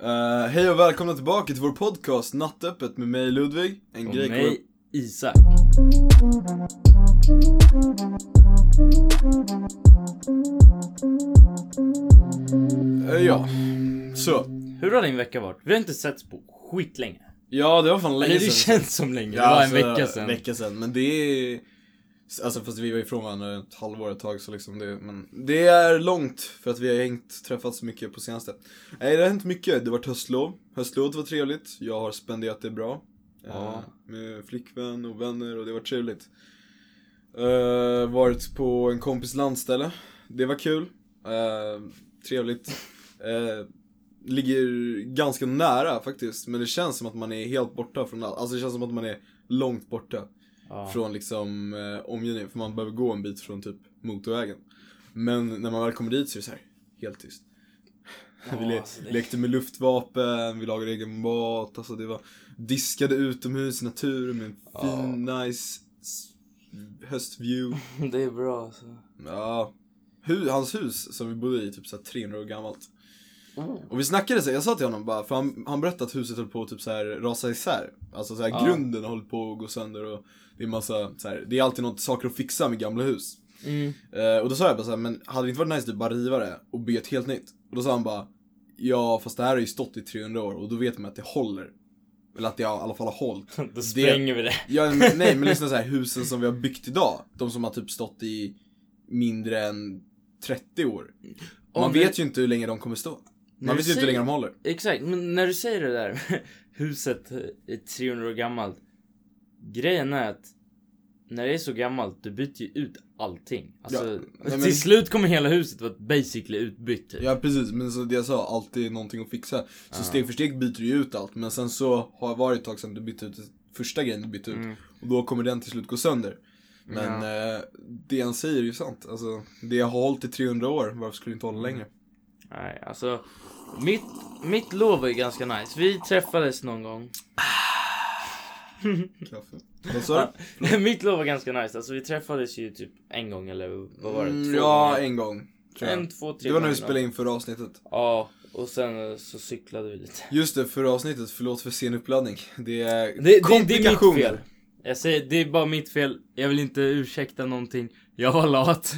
Eh, hej och välkomna tillbaka till vår podcast Nattöppet med mig Ludvig, en Och grek och- mig, Isak. Eh, ja, så. Hur har din vecka varit? Vi har inte setts på skitlänge. Ja, det var fan länge Eller det känns som länge, det Ja, var en alltså, vecka sedan. vecka sedan, men det är... Alltså fast vi var ifrån varandra ett halvår ett tag så liksom det, men det är långt för att vi har hängt, träffats så mycket på senaste. Nej det har hänt mycket, det har varit höstlov, höstlovet var trevligt, jag har spenderat det bra. Ja. Eh, med flickvän och vänner och det var trevligt. Eh, varit på en kompis landställe, det var kul. Eh, trevligt. Eh, ligger ganska nära faktiskt, men det känns som att man är helt borta från allt. Alltså det känns som att man är långt borta Ja. från liksom eh, omgivningen, för man behöver gå en bit från typ motorvägen. Men när man väl kommer dit så är det så här, helt tyst. Ja, vi le- alltså det- lekte med luftvapen, vi lagade egen mat, alltså det var diskade utomhus i naturen med en fin, nice s- höstview. Det är bra alltså. Ja. Hu- hans hus som vi bodde i, typ så här 300 år gammalt. Och vi snackade så här, jag sa till honom bara, för han, han berättade att huset höll på att typ så här rasa isär. Alltså så här, Ja. grunden höll på att gå sönder och det är massa så här, det är alltid något saker att fixa med gamla hus. Mm. Eh, och då sa jag bara så här, men hade det inte varit nice att bara riva det och bygga ett helt nytt? Och då sa han bara, ja fast det här har ju stått i 300 år och då vet man att det håller. Eller att det i alla fall har hållit. Då spränger vi det. Ja, men, nej men lyssna så här, husen som vi har byggt idag, de som har typ stått i mindre än 30 år. Man Om vi- vet ju inte hur länge de kommer stå. Man du vet ju inte hur säger- länge de håller. Exakt, men när du säger det där huset är 300 år gammalt. Grejen är att när det är så gammalt, du byter ju ut allting. Alltså, nej, men- till slut kommer hela huset vara basically utbytt. Typ. Ja precis, men så det jag sa, alltid någonting att fixa. Så steg för steg byter du ju ut allt, men sen så har det varit ett tag sedan du bytte ut första grejen du bytte ut. Mm. Och då kommer den till slut gå sönder. Men eh, det han säger är ju sant. Alltså, det har hållit i 300 år, varför skulle det inte hålla längre? Nej, alltså. Mitt, mitt lov var ju ganska nice. Vi träffades någon gång. Mm. Kaffe. Vad sa du? mitt lov var ganska nice. Alltså vi träffades ju typ en gång eller vad var det? Mm, Två Ja, gånger. en gång. Tror jag. en, två, tre Det var när vi gånger då. spelade in förra avsnittet. Ja, och sen eh, så cyklade vi lite. Just det, förra avsnittet. Förlåt för sen uppladdning. Det är Det, det, det är mitt komplikationer. fel. Jag säger, det är bara mitt fel. Jag vill inte ursäkta någonting. Jag var lat.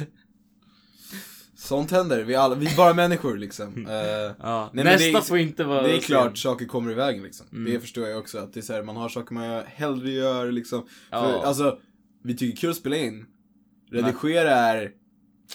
Sånt händer. Vi, är alla, vi är bara människor Mm. liksom. Eh, Ja. Nej, men Nästa det är- får inte vara Det är sen. klart saker kommer i vägen liksom. Mm. Det förstår jag också. Att det är så här, man har saker man hellre gör liksom. För, Ja. alltså, vi tycker kul att spela in. Redigera är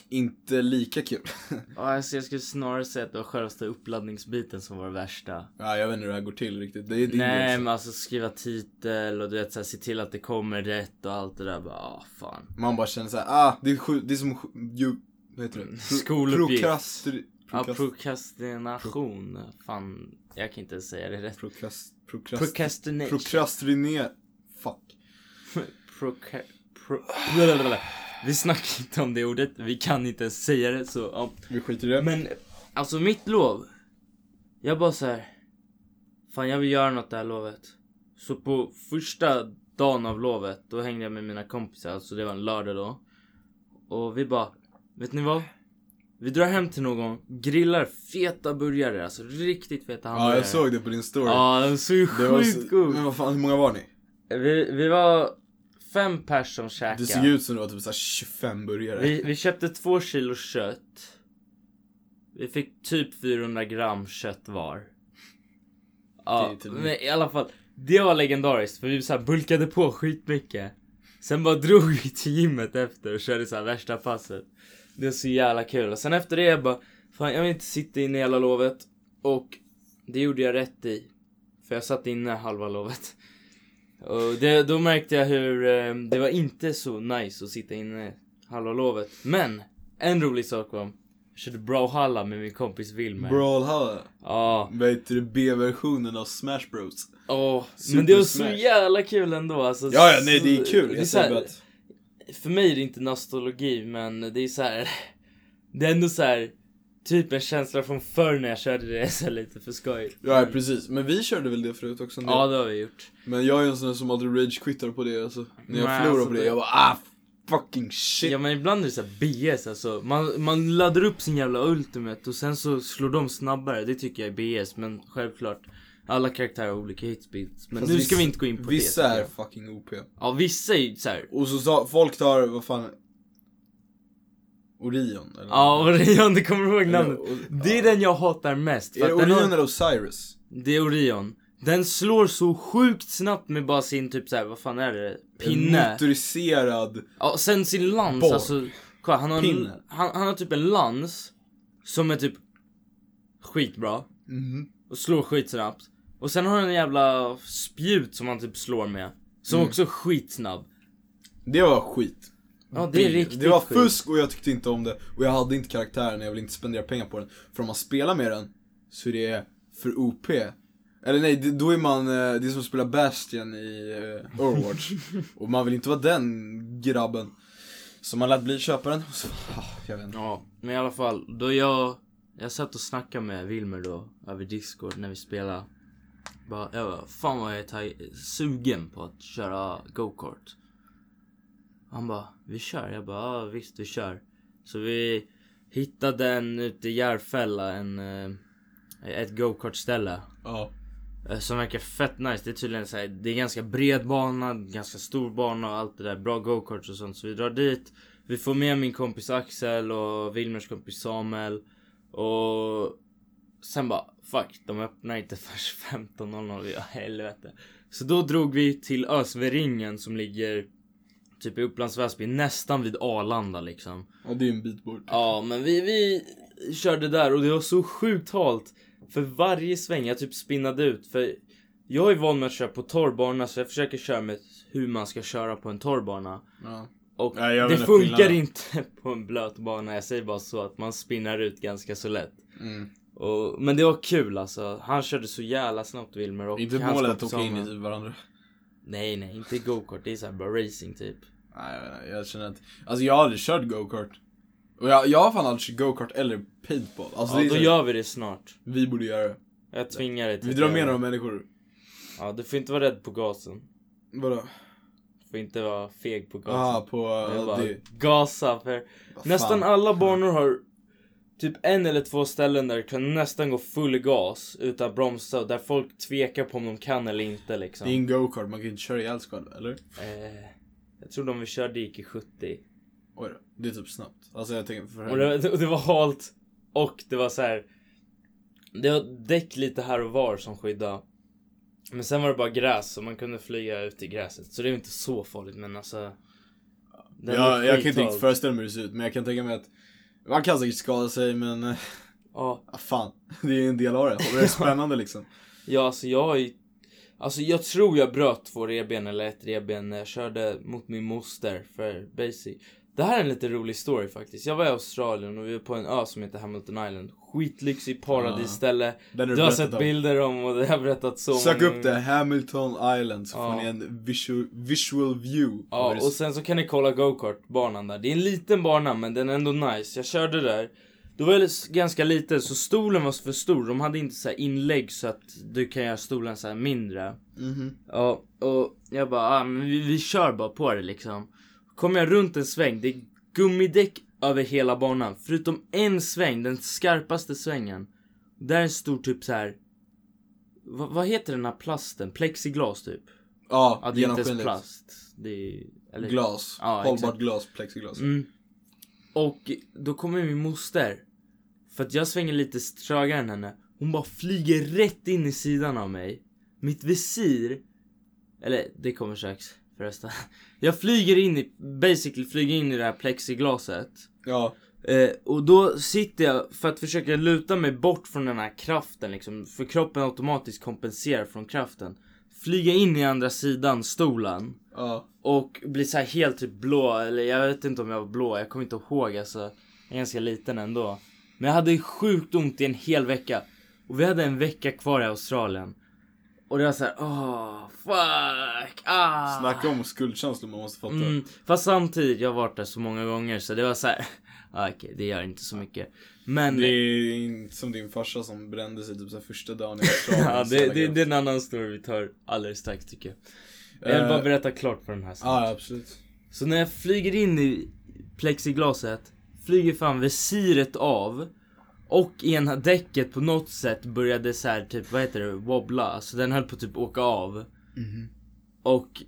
inte lika kul. Ja, alltså, jag skulle snarare säga att det var själva uppladdningsbiten som var det värsta. ja, jag vet inte hur det här går till riktigt. Det är din grej Nej också. men alltså skriva titel och du vet så här, se till att det kommer rätt och allt det där bara ah, fan. Man bara känner såhär, ah, det är, sju, det är som sju, ju, vad heter det? Pro- Skoluppgift. Prokrastri... Ja Prokrast, prokrastination. Fan jag kan inte säga det rätt. prokrast, prokrast, Procrastination. prokrastrinera. Fuck. Proca- pro- Blablabla. Vi snackar inte om det ordet, vi kan inte ens säga det så ja. Vi skiter i det. Men alltså mitt lov. Jag bara så här. Fan jag vill göra något det här lovet. Så på första dagen av lovet då hängde jag med mina kompisar. Alltså det var en lördag då. Och vi bara. Vet ni vad? Vi drar hem till någon, grillar feta burgare. Alltså riktigt feta hamburgare. ja, jag såg det på din story. Ja den såg ju det var så- sjukt god. Men vad fan, hur många var ni? Vi, vi var fem pers som käkade. Det såg ut som det var typ såhär 25 burgare. Vi, vi köpte två kilo kött. Vi fick typ 400 gram kött var. Det Ja, är typ men i alla fall. Det var legendariskt för vi så här bulkade på skitmycket. Sen bara drog vi till gymmet efter och körde så här värsta passet. Det var så jävla kul. Och sen efter det jag bara, fan jag vill inte sitta inne hela lovet. Och det gjorde jag rätt i. För jag satt inne halva lovet. Och det, då märkte jag hur eh, det var inte så nice att sitta inne halva lovet. Men en rolig sak var, jag körde Brawlhalla med min kompis Wilmer. Brawlhalla. Ja, Vad heter det? B-versionen av Smash Bros. åh, Super men det var så Smash. jävla kul ändå alltså. Ja, ja, nej det är Så- kul. det är Jag så säger här- bara att... för mig är det inte nostalgi men det är så här. Det är ändå så här. Typ en känsla från förr när jag körde det så här lite för skoj. Ja, precis. Men vi körde väl det förut också? en del. Ja det har vi gjort. Men jag är en sån där som aldrig rage-quittar på det alltså. När jag Nej, förlorar alltså på det, det- jag bara ah, fucking shit. Ja men ibland är det så här BS alltså. Man, man laddar upp sin jävla ultimate och sen så slår de snabbare. Det tycker jag är BS men självklart. Alla karaktärer har olika hitspeeds. Men Fast nu viss- ska alltså, vi inte gå in på det. Vissa tycker är jag. fucking OP. Ja vissa är ju såhär. Och så sa, folk tar, vad fan. Orion eller? Ja Orion, du kommer ihåg Eller- namnet. och- Det är den jag hatar mest. för Är det att den har- Orion eller Osiris? Det är Orion. Den slår så sjukt snabbt med bara sin typ såhär, vad fan är det? En Pinne. motoriserad. Ja, sen sin lans Borg. alltså. Kolla, han, har en, Pinne. han, han har typ en lans som är typ skitbra Mhm. och slår skitsnabbt. Och sen har han en jävla spjut som han typ slår med. Som Mm. också är skitsnabb. Det var skit. Ja det är riktigt Det var skit. fusk och jag tyckte inte om det. Och jag hade inte karaktären, jag ville inte spendera pengar på den. För om man spelar med den, så är det för OP. Eller nej, det- då är man, eh, det är som att spela Bastion i eh, Overwatch. och man vill inte vara den grabben. Så man lät bli köparen. Och så, ah, jag vet inte. Ja men i alla fall. Då jag, jag satt och snackade med Wilmer då över discord när vi spelade. Bara, jag bara, fan vad jag är taj- sugen på att köra go-kart. Han bara, vi kör. Jag bara, ja, visst vi kör. Så vi hittade en ute i Järfälla, en, eh, ett go-kart-ställe. Ja. Eh, Som verkar fett nice. Det är tydligen så här, det är ganska bred bana, ganska stor bana och allt det där. Bra go-karts och sånt. Så vi drar dit. Vi får med min kompis Axel och Wilmers kompis Samuel. Och sen bara fuck, de öppnar inte förrän 15.00. Vi bara, helvete. Så då drog vi till Ösveringen som ligger typ i Upplands Väsby, nästan vid Arlanda liksom. Och det är en bit bort. Ja, men vi, vi körde där och det var så sjukt halt. För varje sväng jag typ spinnade ut. För jag är van med att köra på torrbana så jag försöker köra med hur man ska köra på en torrbana. Ja. Och Nej, jag det vet inte funkar skillnaden. inte på en blöt bana. Jag säger bara så att man spinnar ut ganska så lätt. Mm. Och, men det var kul alltså. Han körde så jävla snabbt Wilmer. Och Inte hans målet att kompis åka in Samuel. i varandra. Nej, nej, inte go-kart. Det är så här bara racing typ. Nej, jag vet inte, jag känner att, alltså jag har aldrig kört go-kart. Och jag, jag har fan aldrig kört go-kart eller paintball. Alltså Ja, det är då så- gör vi det snart. Vi borde göra det. Jag tvingar dig till Vi drar det. med några människor. Ja, du får inte vara rädd på gasen. Vadå? Får inte vara feg på gasen. Ah, på... Jag ja, bara, det, gasa för vad nästan fan. alla banor har typ en eller två ställen där det kan nästan gå full gas utan bromsa och där folk tvekar på om de kan eller inte liksom. Det är en go-kart, man kan ju inte köra ihjäl sig själv, eller? Eh, jag tror de vi körde gick i 70. Oj då, det är typ snabbt. Alltså jag tänker för Och det, och det var halt och det var så här. Det var däck lite här och var som skyddade. Men sen var det bara gräs och man kunde flyga ut i gräset. Så det är ju inte så farligt men alltså. den jag, jag är kan inte skithalt. riktigt föreställa mig hur det ser ut, men jag kan tänka mig att man kan säkert skada sig, men eh, Ja, ah, fan. Det är ju en del av det. Och det är spännande liksom. Ja, alltså jag har ju... Alltså jag tror jag bröt två revben eller ett revben när jag körde mot min moster för basic. Det här är en lite rolig story faktiskt. Jag var i Australien och vi var på en ö som heter Hamilton Island. Skitlyxig paradisställe. Den Du har berättat sett om. bilder om och det har jag berättat så Sök många upp det, Hamilton Island, så Ja. får ni en visual, visual view. av hur Ja, det och ser- sen så kan ni kolla go-kart-banan där. Det är en liten bana, men den är ändå nice. Jag körde där. Då var jag lis- ganska liten, så stolen var för stor. De hade inte så här inlägg så att du kan göra stolen så här mindre. Mhm. Ja, och jag bara, ah, men vi, vi kör bara på det liksom. Kommer jag runt en sväng, det är gummidäck över hela banan. Förutom en sväng, den skarpaste svängen. Där är en stor typ så här. Va, vad heter den här plasten? Plexiglas typ? Ja, Ja, det är inte ens genomskinligt. plast. Det är... Eller... Glas. Ja, Hållbart exakt. glas, plexiglas. Mm. Och då kommer min moster. För att jag svänger lite trögare än henne. Hon bara flyger rätt in i sidan av mig. Mitt visir. Eller det kommer strax förresten. Jag flyger in i, basically flyger in i det här plexiglaset. Ja. Eh, och då sitter jag för att försöka luta mig bort från den här kraften liksom. För kroppen automatiskt kompenserar från kraften. Flyga in i andra sidan stolen. Ja. Och blir så här helt typ blå, eller jag vet inte om jag var blå, jag kommer inte ihåg alltså. Jag är ganska liten ändå. Men jag hade sjukt ont i en hel vecka. Och vi hade en vecka kvar i Australien. Och det var så här, åh, fuck, ah. Snacka om skuldkänslor man måste fatta. Mm, fast samtidigt, jag har varit där så många gånger så det var så här, ah, okej det gör inte så mycket. Men, Det är inte som din farsa som brände sig typ så här första dagen i ja, det, det, det det. är Eh, en annan story vi tar alldeles strax tycker jag. Jag vill bara berätta klart för den här. Ja, absolut. Så när jag flyger in i plexiglaset, flyger fan visiret av och ena däcket på något sätt började så här typ, vad heter det, wobbla. Alltså den höll på att typ åka av. Och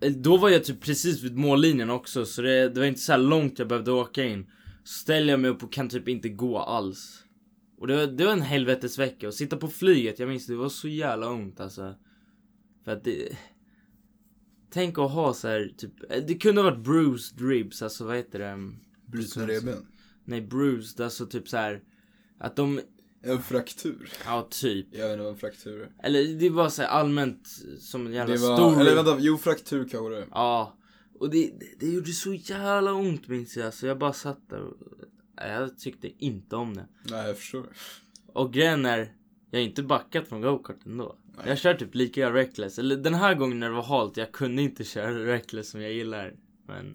eh, då var jag typ precis vid mållinjen också så det, det var inte så här långt jag behövde åka in. Så ställer jag mig upp och kan typ inte gå alls. Och det var, det var en helvetesvecka och sitta på flyget, jag minns det var så jävla ont alltså. För att det... Tänk att ha så här typ, eh, det kunde ha varit bruised ribs, alltså vad heter det? Brutna revben. Nej bruised, alltså typ så här att de, En fraktur. ja typ. Jag vet inte vad en fraktur är. Eller det var så här allmänt eh, som en jävla Det var, stor... eller vänta, jo fraktur kanske det är. Ja. Och det, det, det gjorde så jävla ont minns jag. Så jag bara satt där och... Nej, Jag tyckte inte om det. Nej jag förstår. Och grejen är, jag har inte backat från gokart ändå. Jag kör typ lika reckless. Eller den här gången när det var halt, jag kunde inte köra reckless som jag gillar. Men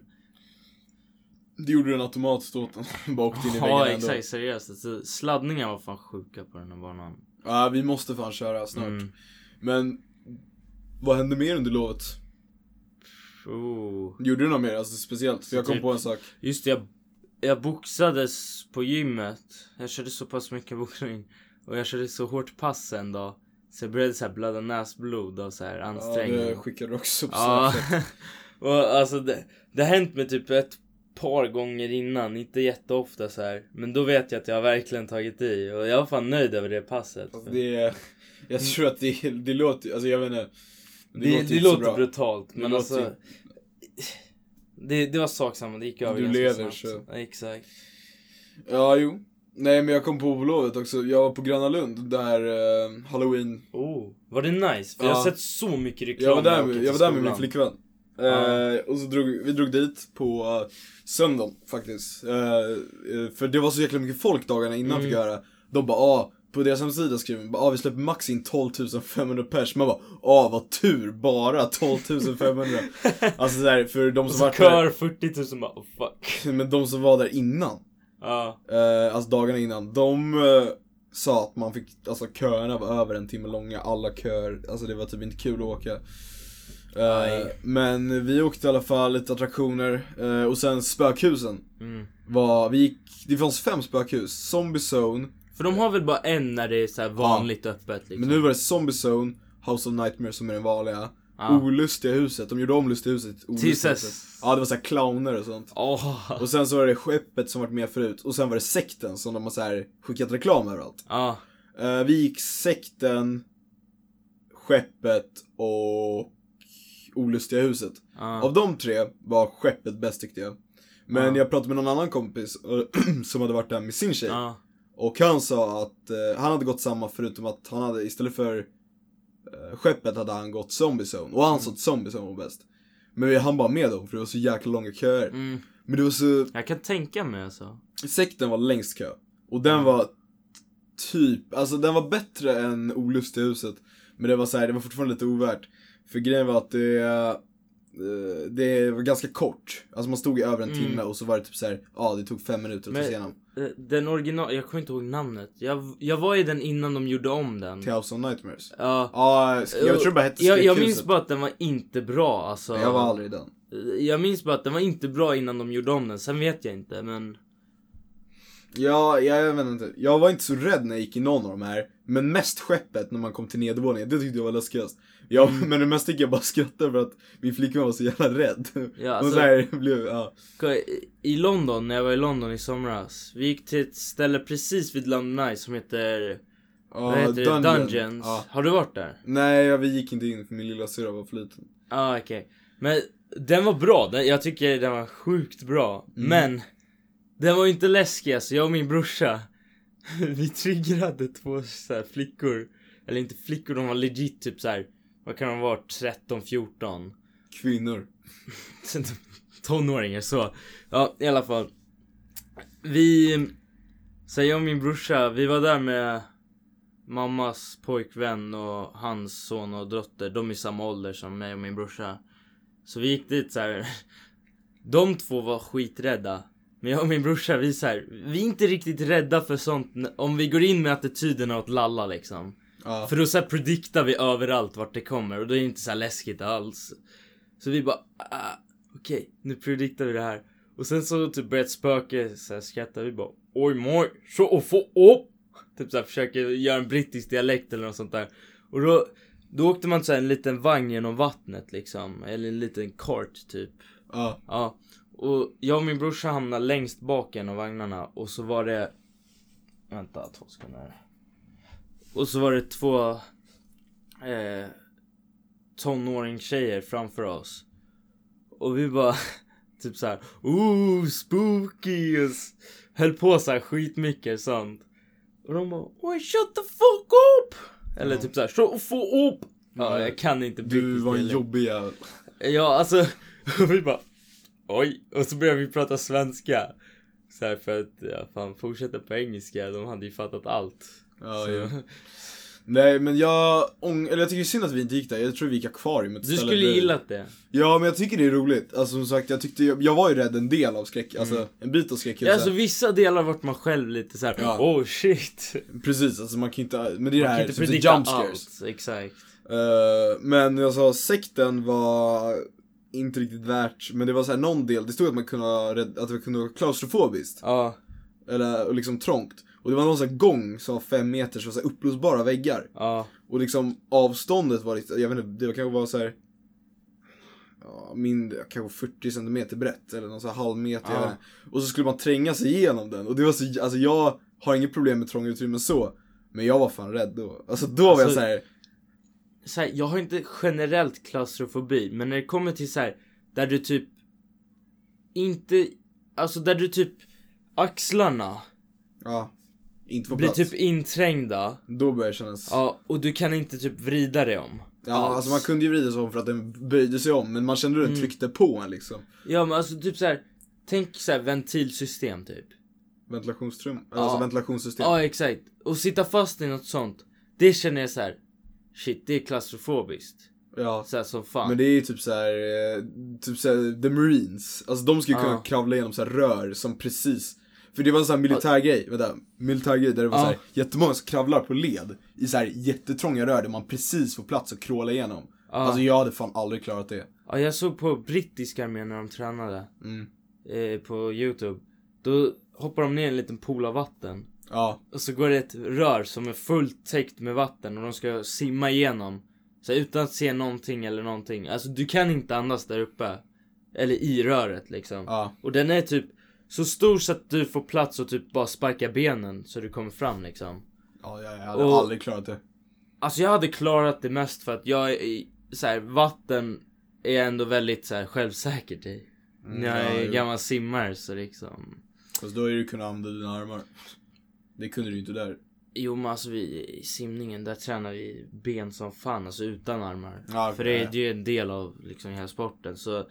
Det gjorde den automatiskt åt den. Bara åkte in i väggen ja ändå. exakt seriöst. Alltså, sladdningen var fan sjuka på den här banan. Ja, vi måste fan köra snart. Mm. Men vad hände mer under lovet? Oh. Gjorde du något mer? Alltså speciellt? För jag kom Typ- på en sak. Just det, jag, jag boxades på gymmet. Jag körde så pass mycket boxning. Och jag körde så hårt pass en dag. Så jag började så här blöda näsblod av så här Ja, det ansträngning. skickade du också på Ja, Snapchat. och alltså det, det har hänt mig typ ett par gånger innan. Inte jätteofta så här. Men då vet jag att jag har verkligen tagit i. Och jag var fan nöjd över det passet. Alltså, det är, jag tror att det, det låter, alltså jag vet inte. det, Det, låter det låter, inte så bra. brutalt. Det Men låter alltså. inte- Det, det var sak samma, det gick över Du ganska lever, snabbt. så. Ja, Exakt. Ja, jo. Nej, men jag kom på på lovet också. Jag var på Gröna Lund där eh, halloween. Oh, var det nice? För jag har Ja. sett så mycket reklam Jag var när där åker med, till jag var där med min skolan. flickvän. Eh, Ja. och så drog, vi drog dit på eh, söndagen faktiskt. Eh, eh, för det var så jäkla mycket folk dagarna innan Mm. fick jag höra. De bara ah, på deras hemsida skriver de bara ah, vi släpper max in 12 500 pers. Man bara ah vad tur, bara 12 500. alltså såhär för de Och som så var där, kör 40 000 bara oh, fuck. men de som var där innan. Ja. Eh, alltså dagarna innan. De eh, sa att man fick, alltså köerna var över en timme långa, alla köer, alltså det var typ inte kul att åka. Eh, Nej. men vi åkte i alla fall lite attraktioner eh, och sen spökhusen. Var, vi gick, det fanns fem spökhus, Zombie Zone, För de har väl bara en när det är så här vanligt öppet liksom. men nu var det Zombie Zone, House of Nightmares som är den vanliga. Ja. Olustiga huset, de gjorde om lustiga huset. till Tills Olustiga huset. dess. Ja det var såhär clowner och sånt. Åh. Och sen så var det skeppet som varit med förut och sen var det sekten som de har så här skickat reklam överallt. Ja. Eh, vi gick sekten, skeppet och olustiga huset. Ja. Av de tre var skeppet bäst tyckte jag. Men Ja. jag pratade med någon annan kompis eh, som hade varit där med sin tjej. Ja. Och han sa att eh, han hade gått samma förutom att han hade istället för eh, skeppet hade han gått zombie zone. Och han Mm. sa att zombie zone var bäst. Men han var med då för det var så jäkla långa köer. Mm. Men det var så Jag kan tänka mig alltså. sekten var längst kö. Och Mm. den var typ, alltså den var bättre än Olustiga huset. Men det var så här, det var fortfarande lite ovärt. För grejen var att det, eh, det var ganska kort. Alltså man stod i över en Mm. timme och så var det typ så här, ja det tog fem minuter att ta Men- sig igenom. Eh, Den original, jag kommer inte ihåg namnet. Jag, jag var i den innan de gjorde om den. Till House of Nightmares. Ja. Ja, jag tror det bara hette jag, jag minns Skräckhuset. bara att den var inte bra alltså. Jag var aldrig i den. Jag minns bara att den var inte bra innan de gjorde om den. Sen vet jag inte men. Ja, jag vet inte. Jag var inte så rädd när jag gick i någon av de här. Men mest skeppet när man kom till nedervåningen, det tyckte jag var läskigast. Ja, Mm. men det mesta gick jag bara skrattade för att min flickvän var så jävla rädd. Ja, Hon alltså, så här blev, ja. Ska- I London, när jag var i London i somras. Vi gick till ett ställe precis vid London Eye som heter... vad Ja, heter det? dungeon. Dungeons. Ja. Har du varit där? Nej, ja, vi gick inte in för min lilla syrra var för liten. Ja, ah, okej. Men den var bra. Den, jag tycker den var sjukt bra. Men den var ju inte läskig alltså. Jag och min brorsa. vi triggerade två så här, flickor. Eller inte flickor, de var legit typ så här. Vad kan de vara? 13, 14. Kvinnor. tonåringar så. Ja, i alla fall. Vi, så jag och min brorsa, vi var där med mammas pojkvän och hans son och dotter. De är samma ålder som mig och min brorsa. Så vi gick dit så här. De två var skiträdda. Men jag och min brorsa, vi, är så här, vi är inte riktigt rädda för sånt n- om vi går in med attityden åt lalla liksom. Ja. För då så här prediktar vi överallt vart det kommer och då är det inte så här läskigt alls. Så vi bara, ah, okej okej nu prediktar vi det här. Och sen så typ börjar ett spöke så här skrattar vi bara oj moj så och få upp. Typ så här försöker göra en brittisk dialekt eller något sånt där. Och då, då åkte man så här en liten vagn genom vattnet liksom. Eller en liten kart typ. Ja. Ja, och jag och min brorsa hamnade längst bak i en av vagnarna och så var det... Vänta, två sekunder. här. Och så var det två eh, tonåringstjejer framför oss. Och vi bara typ så här, ooh spooky! och s- Höll på så här skitmycket sånt. Och de bara, oj shut the fuck up! Eller Ja. typ så här, shut the fuck up! Ja, Nej. jag kan inte Du brittisk var en dialekt. jobbig jävel. Ja, alltså, vi bara Oj, och så började vi prata svenska så här för att, ja, fan fortsätta på engelska, de hade ju fattat allt Ja, så, ja. Nej men jag, ång- eller jag tycker synd att vi inte gick där, jag tror vi gick akvarium Du skulle gillat det Ja men jag tycker det är roligt, alltså som sagt jag tyckte, jag, jag var ju rädd en del av skräck, alltså Mm. en bit av skräck Ja, alltså vissa delar vart man själv lite så här, Ja. oh shit Precis, alltså man kan ju inte, men det är det Man kan här, inte typ the predikta jump scares allt, exakt Eh, Men jag sa, sekten var inte riktigt värt, men det var så här någon del, det stod att man kunde, ha rädd- att det kunde vara klaustrofobiskt Ja, Eller och liksom trångt. Och det var någon sån här gång som var fem meter, så var så här uppblåsbara väggar. ja, Och liksom avståndet var lite, jag vet inte, det var kanske var så här. Ja, mindre, kanske 40 centimeter brett eller någon så här halv meter. jag Ja. vet inte. Och så skulle man tränga sig igenom den. Och det var så, alltså jag har inget problem med trånga utrymmen så. Men jag var fan rädd då. Alltså då var jag Alltså- så här. så här, jag har inte generellt klaustrofobi, men när det kommer till så här där du typ inte, alltså där du typ axlarna ja. Inte få blir plats. typ inträngda Då började det kännas. Ja, Ja, och du kan inte typ vrida dig om. alls. alltså man kunde ju vrida sig om för att den böjde sig om. Men man kände hur den Mm. tryckte på en liksom. Ja, men alltså typ så här. Tänk så här ventilsystem typ. Ventilationsrum, alltså Ja. ventilationssystem. Ja, exakt. Och sitta fast i något sånt. Det känner jag så här. Shit, det är klaustrofobiskt. Ja. Så här som fan. Men det är ju typ såhär, eh, typ såhär, the marines. Alltså de skulle kunna Ja. kravla igenom såhär rör som precis, för det var en sån här militärgrej, vänta, militärgrej där det var Ja. såhär jätmånga som kravlar på led i såhär jättetrånga rör där man precis får plats att kråla igenom. ja. Alltså jag hade fan aldrig klarat det. ja, jag såg på brittiska armén när de tränade. Mm. Eh, på youtube. Då hoppar de ner i en liten pool av vatten. Ja, Och så går det ett rör som är fullt täckt med vatten och de ska simma igenom. Så här, utan att se någonting eller någonting. Alltså du kan inte andas där uppe. Eller i röret liksom. ja, Och den är typ så stor så att du får plats och typ bara sparka benen så du kommer fram liksom. ja jag, jag hade Och- aldrig klarat det. Alltså jag hade klarat det mest för att jag är i- så här, vatten är jag ändå väldigt så här, självsäkert i. Mm, jag är ja, jo. gammal simmare så liksom. Fast då hade du kunnat använda dina armar. Det kunde du ju inte där. Jo men alltså vi, i simningen där tränar vi ben som fan, alltså utan armar. Ja, För det ja. är det är ju en del av liksom hela sporten så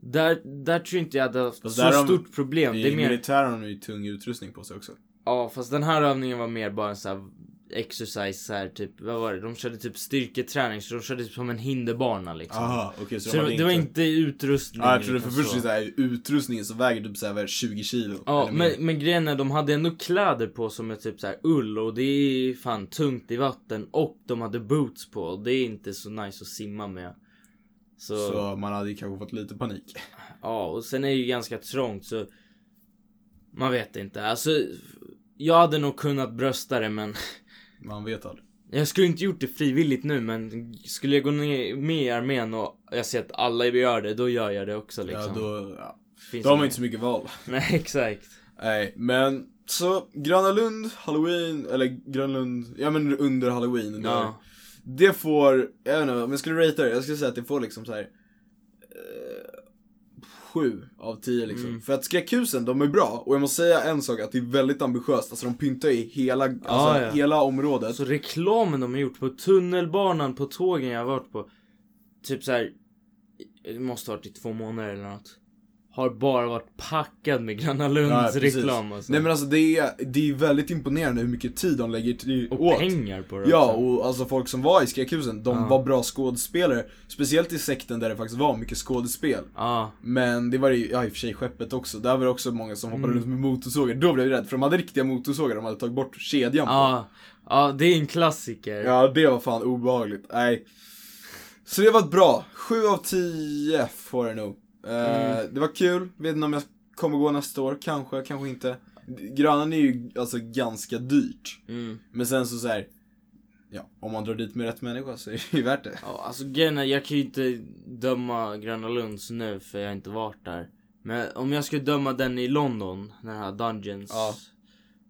där, där tror inte jag hade haft Fast så där har de- stort problem. Det I är mer, militären har de ju tung utrustning på sig också. ja fast den här övningen var mer bara en sån här exercise så här typ, vad var det? De körde typ styrketräning så de körde typ som en hinderbana liksom. Aha, okej så, Så de det, var- hade det var inte... inte utrustning. Ja, jag trodde för utan först så. så här, utrustningen som väger typ så här, 20 kilo. alltså- Ja, eller mer. men, men grejen är de hade ändå kläder på som är typ så här ull och det är fan tungt i vatten och de hade boots på och det är inte så nice att simma med. Så, Så man hade ju kanske fått lite panik. ja, och sen är det ju ganska trångt så man vet inte. Alltså, jag hade nog kunnat brösta det men Man vet aldrig. jag skulle inte gjort det frivilligt nu men skulle jag gå ner med i armén och jag ser att alla gör det, då gör jag det också liksom. Ja, då, ja. Finns då har man inget- inte så mycket val. Nej, exakt. Nej, men så Gröna Lund, Halloween, eller Gröna Lund, ja men under Halloween. det- Ja. Det får, jag vet inte, om jag skulle ratea det, jag skulle säga att det får liksom så här. eh, Sju av tio liksom. Mm. För att skräckhusen, de är bra. Och jag måste säga en sak, att det är väldigt ambitiöst. Alltså de pyntar ju hela, alltså, Ja, ja. hela området. Alltså reklamen de har gjort på tunnelbanan, på tågen jag har varit på. Typ så här. Det måste ha varit i två månader eller något. Har bara varit packad med Gröna Ja, Lunds precis. reklam och så. Nej men alltså det är, det är väldigt imponerande hur mycket tid de lägger till, och åt. pengar på det Ja, också. och alltså folk som var i skräckhusen, de Ja. var bra skådespelare. Speciellt i sekten där det faktiskt var mycket skådespel. Ja, Men det var det ju, ja i och för sig skeppet också, där var det också många som hoppade Mm. runt med motorsågar. Då blev jag rädd, för de hade riktiga motorsågar, de hade tagit bort kedjan på. ja, ja, det är en klassiker. Ja, det var fan obehagligt. Nej. Så det var ett bra. 7 av 10 får det nog. Eh, Mm. Det var kul, vet inte om jag kommer gå nästa år, kanske, kanske inte. Grönan är ju alltså ganska dyrt. Mm. Men sen så, så här. Ja, om man drar dit med rätt människa så är det ju värt det. Ja, alltså grejen är, jag kan ju inte döma Gröna Lunds nu för jag har inte varit där. Men om jag skulle döma den i London, den här Dungeons. Ja.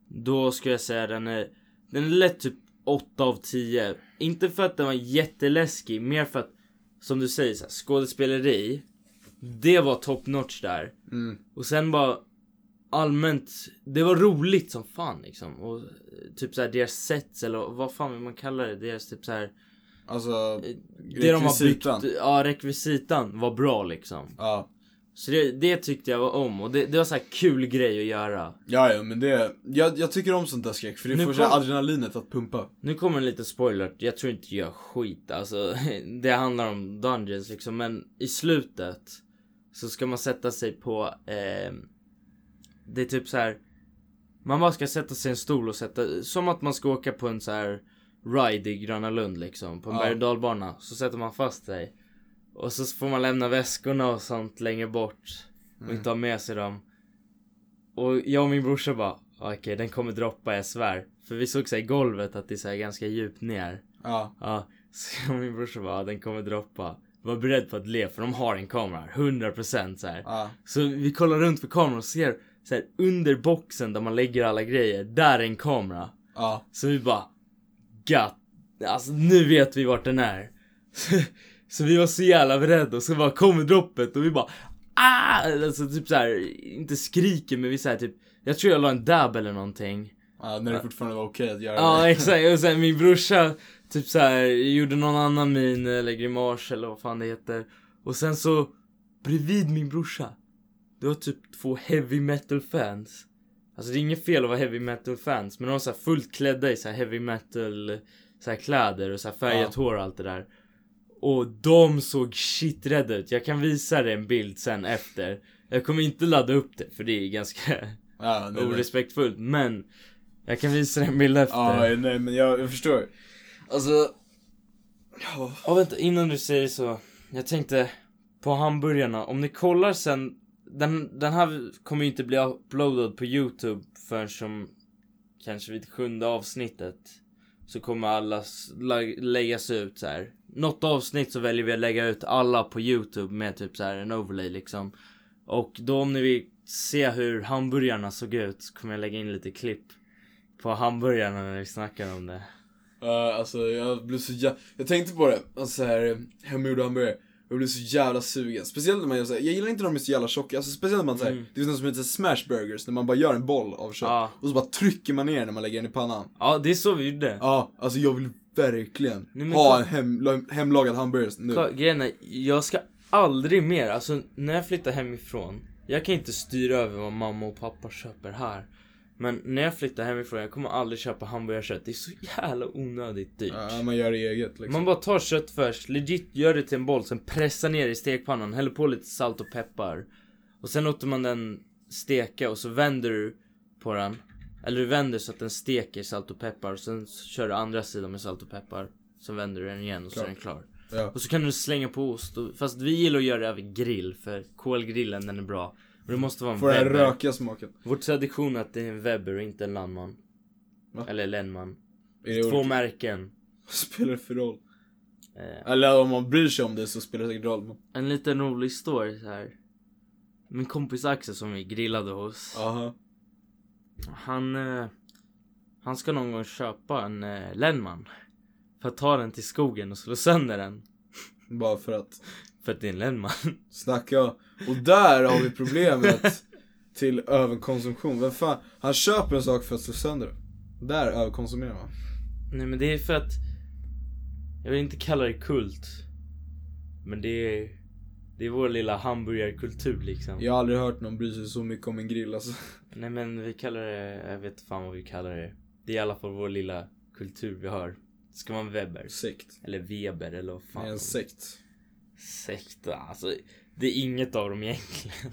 Då skulle jag säga den är, den är lätt typ 8 av 10. Inte för att den var jätteläskig, mer för att som du säger, så här, skådespeleri. Det var top notch där. Mm. Och sen bara allmänt, det var roligt som fan liksom. Och eh, typ såhär deras sets eller vad fan vill man kalla det? Deras typ såhär... Alltså, Eh, Det de har rekvisitan. byggt, ja rekvisitan var bra liksom. Ja. Så det, det tyckte jag var om och det, det var så här kul grej att göra. Ja, ja, men det, jag, jag tycker om sånt där skräck för det Nu får så här kom- adrenalinet att pumpa. Nu kommer en liten spoiler, jag tror inte jag gör skit alltså. Det handlar om Dungeons liksom men i slutet så ska man sätta sig på, eh, det är typ så här. Man bara ska sätta sig i en stol och sätta, som att man ska åka på en så här ride i Gröna Lund liksom. På en Ja. berg och dalbana. Så sätter man fast sig. Och så får man lämna väskorna och sånt längre bort. Och inte ha med sig dem. Och jag och min brorsa bara, okej den kommer droppa jag svär. För vi såg så här i golvet att det är så här ganska djupt ner. Ja. Ja, så jag och min brorsa bara, "Ja, den kommer droppa. Var beredd på att le för de har en kamera, 100% så här. Ja. Så vi kollar runt för kameran och ser så här, under boxen där man lägger alla grejer, där är en kamera. Ja. Så vi bara Gatt. Alltså nu vet vi vart den är. Så, så vi var så jävla beredda och så bara kommer droppet och vi bara ah! Alltså typ så här, inte skriker men vi säger typ Jag tror jag la en dab eller någonting. ja när det fortfarande var okej att göra Ja det. exakt och sen min brorsa typ så här gjorde någon annan min eller grimas eller vad fan det heter. Och sen så bredvid min brorsa. Det var typ två heavy metal fans. Alltså det är inget fel att vara heavy metal fans men de var så här fullt klädda i så här heavy metal så här kläder och så här färgat Ja. hår och allt det där. Och de såg shiträdda ut. Jag kan visa dig en bild sen efter. Jag kommer inte ladda upp det för det är ganska Ja, nej, nej. orespektfullt men jag kan visa dig en bild efter. Ja, nej men jag, jag förstår. Alltså, Ja. ja vänta innan du säger så. Jag tänkte på hamburgarna. Om ni kollar sen. Den, den här kommer ju inte bli uploadad på Youtube förrän som kanske vid sjunde avsnittet. Så kommer alla s- la- läggas ut så här. Något avsnitt så väljer vi att lägga ut alla på Youtube med typ så här en overlay liksom. Och då om ni vill se hur hamburgarna såg ut så kommer jag lägga in lite klipp på hamburgarna när vi snackar om det. Eh, alltså jag blev så jävla, jag tänkte på det, alltså så här, hemgjorda hamburgare. Jag blev så jävla sugen. Speciellt när man gör så här, jag gillar inte när de är så jävla tjocka. Alltså speciellt när man säger, Mm. det finns något som heter smash burgers, när man bara gör en boll av kött. Ja. Och så bara trycker man ner när man lägger den i pannan. Ja det är så vi gjorde. Ja, alltså jag vill verkligen Nej, men ha kolla- en hem, hemlagad hamburgare nu. Klar, grejen är, jag ska aldrig mer, alltså när jag flyttar hemifrån. Jag kan inte styra över vad mamma och pappa köper här. Men när jag flyttar hemifrån, jag kommer aldrig köpa hamburgarkött. Det är så jävla onödigt dyrt. Ja, man gör det eget liksom. Man bara tar kött först, legit gör det till en boll, sen pressar ner det i stekpannan, häller på lite salt och peppar. Och sen låter man den steka och så vänder du på den. Eller du vänder så att den steker salt och peppar och sen kör du andra sidan med salt och peppar. Sen vänder du den igen och så är den klar. Ja. Och så kan du slänga på ost. Och, fast vi gillar att göra det över grill för kolgrillen den är bra. Men det måste vara en Får den här Weber. rökiga smaken. Vår tradition är att det är en Weber och inte en Landman. Va? Eller Lennman. Är det Två olika? märken. spelar det för roll? Eh, Eller om man bryr sig om det så spelar det säkert roll. men- En liten rolig story så här. Min kompis Axel som vi grillade hos. Aha. Han, eh, han ska någon gång köpa en eh, Lennman. För att ta den till skogen och slå sönder den. Bara för att För att det är en Lennman. snacka. Och där har vi problemet till överkonsumtion. Vem fan, han köper en sak för att slå sönder den. Där överkonsumerar man. Nej men det är för att Jag vill inte kalla det kult Men det är Det är vår lilla hamburgarkultur liksom Jag har aldrig hört någon bry sig så mycket om en grill alltså. Nej men vi kallar det Jag vet fan vad vi kallar det Det är i alla fall vår lilla kultur vi har Det ska vara en Weber Sekt. Eller Weber eller vad Det fan är en sekt. Sekta alltså Det är inget av dem egentligen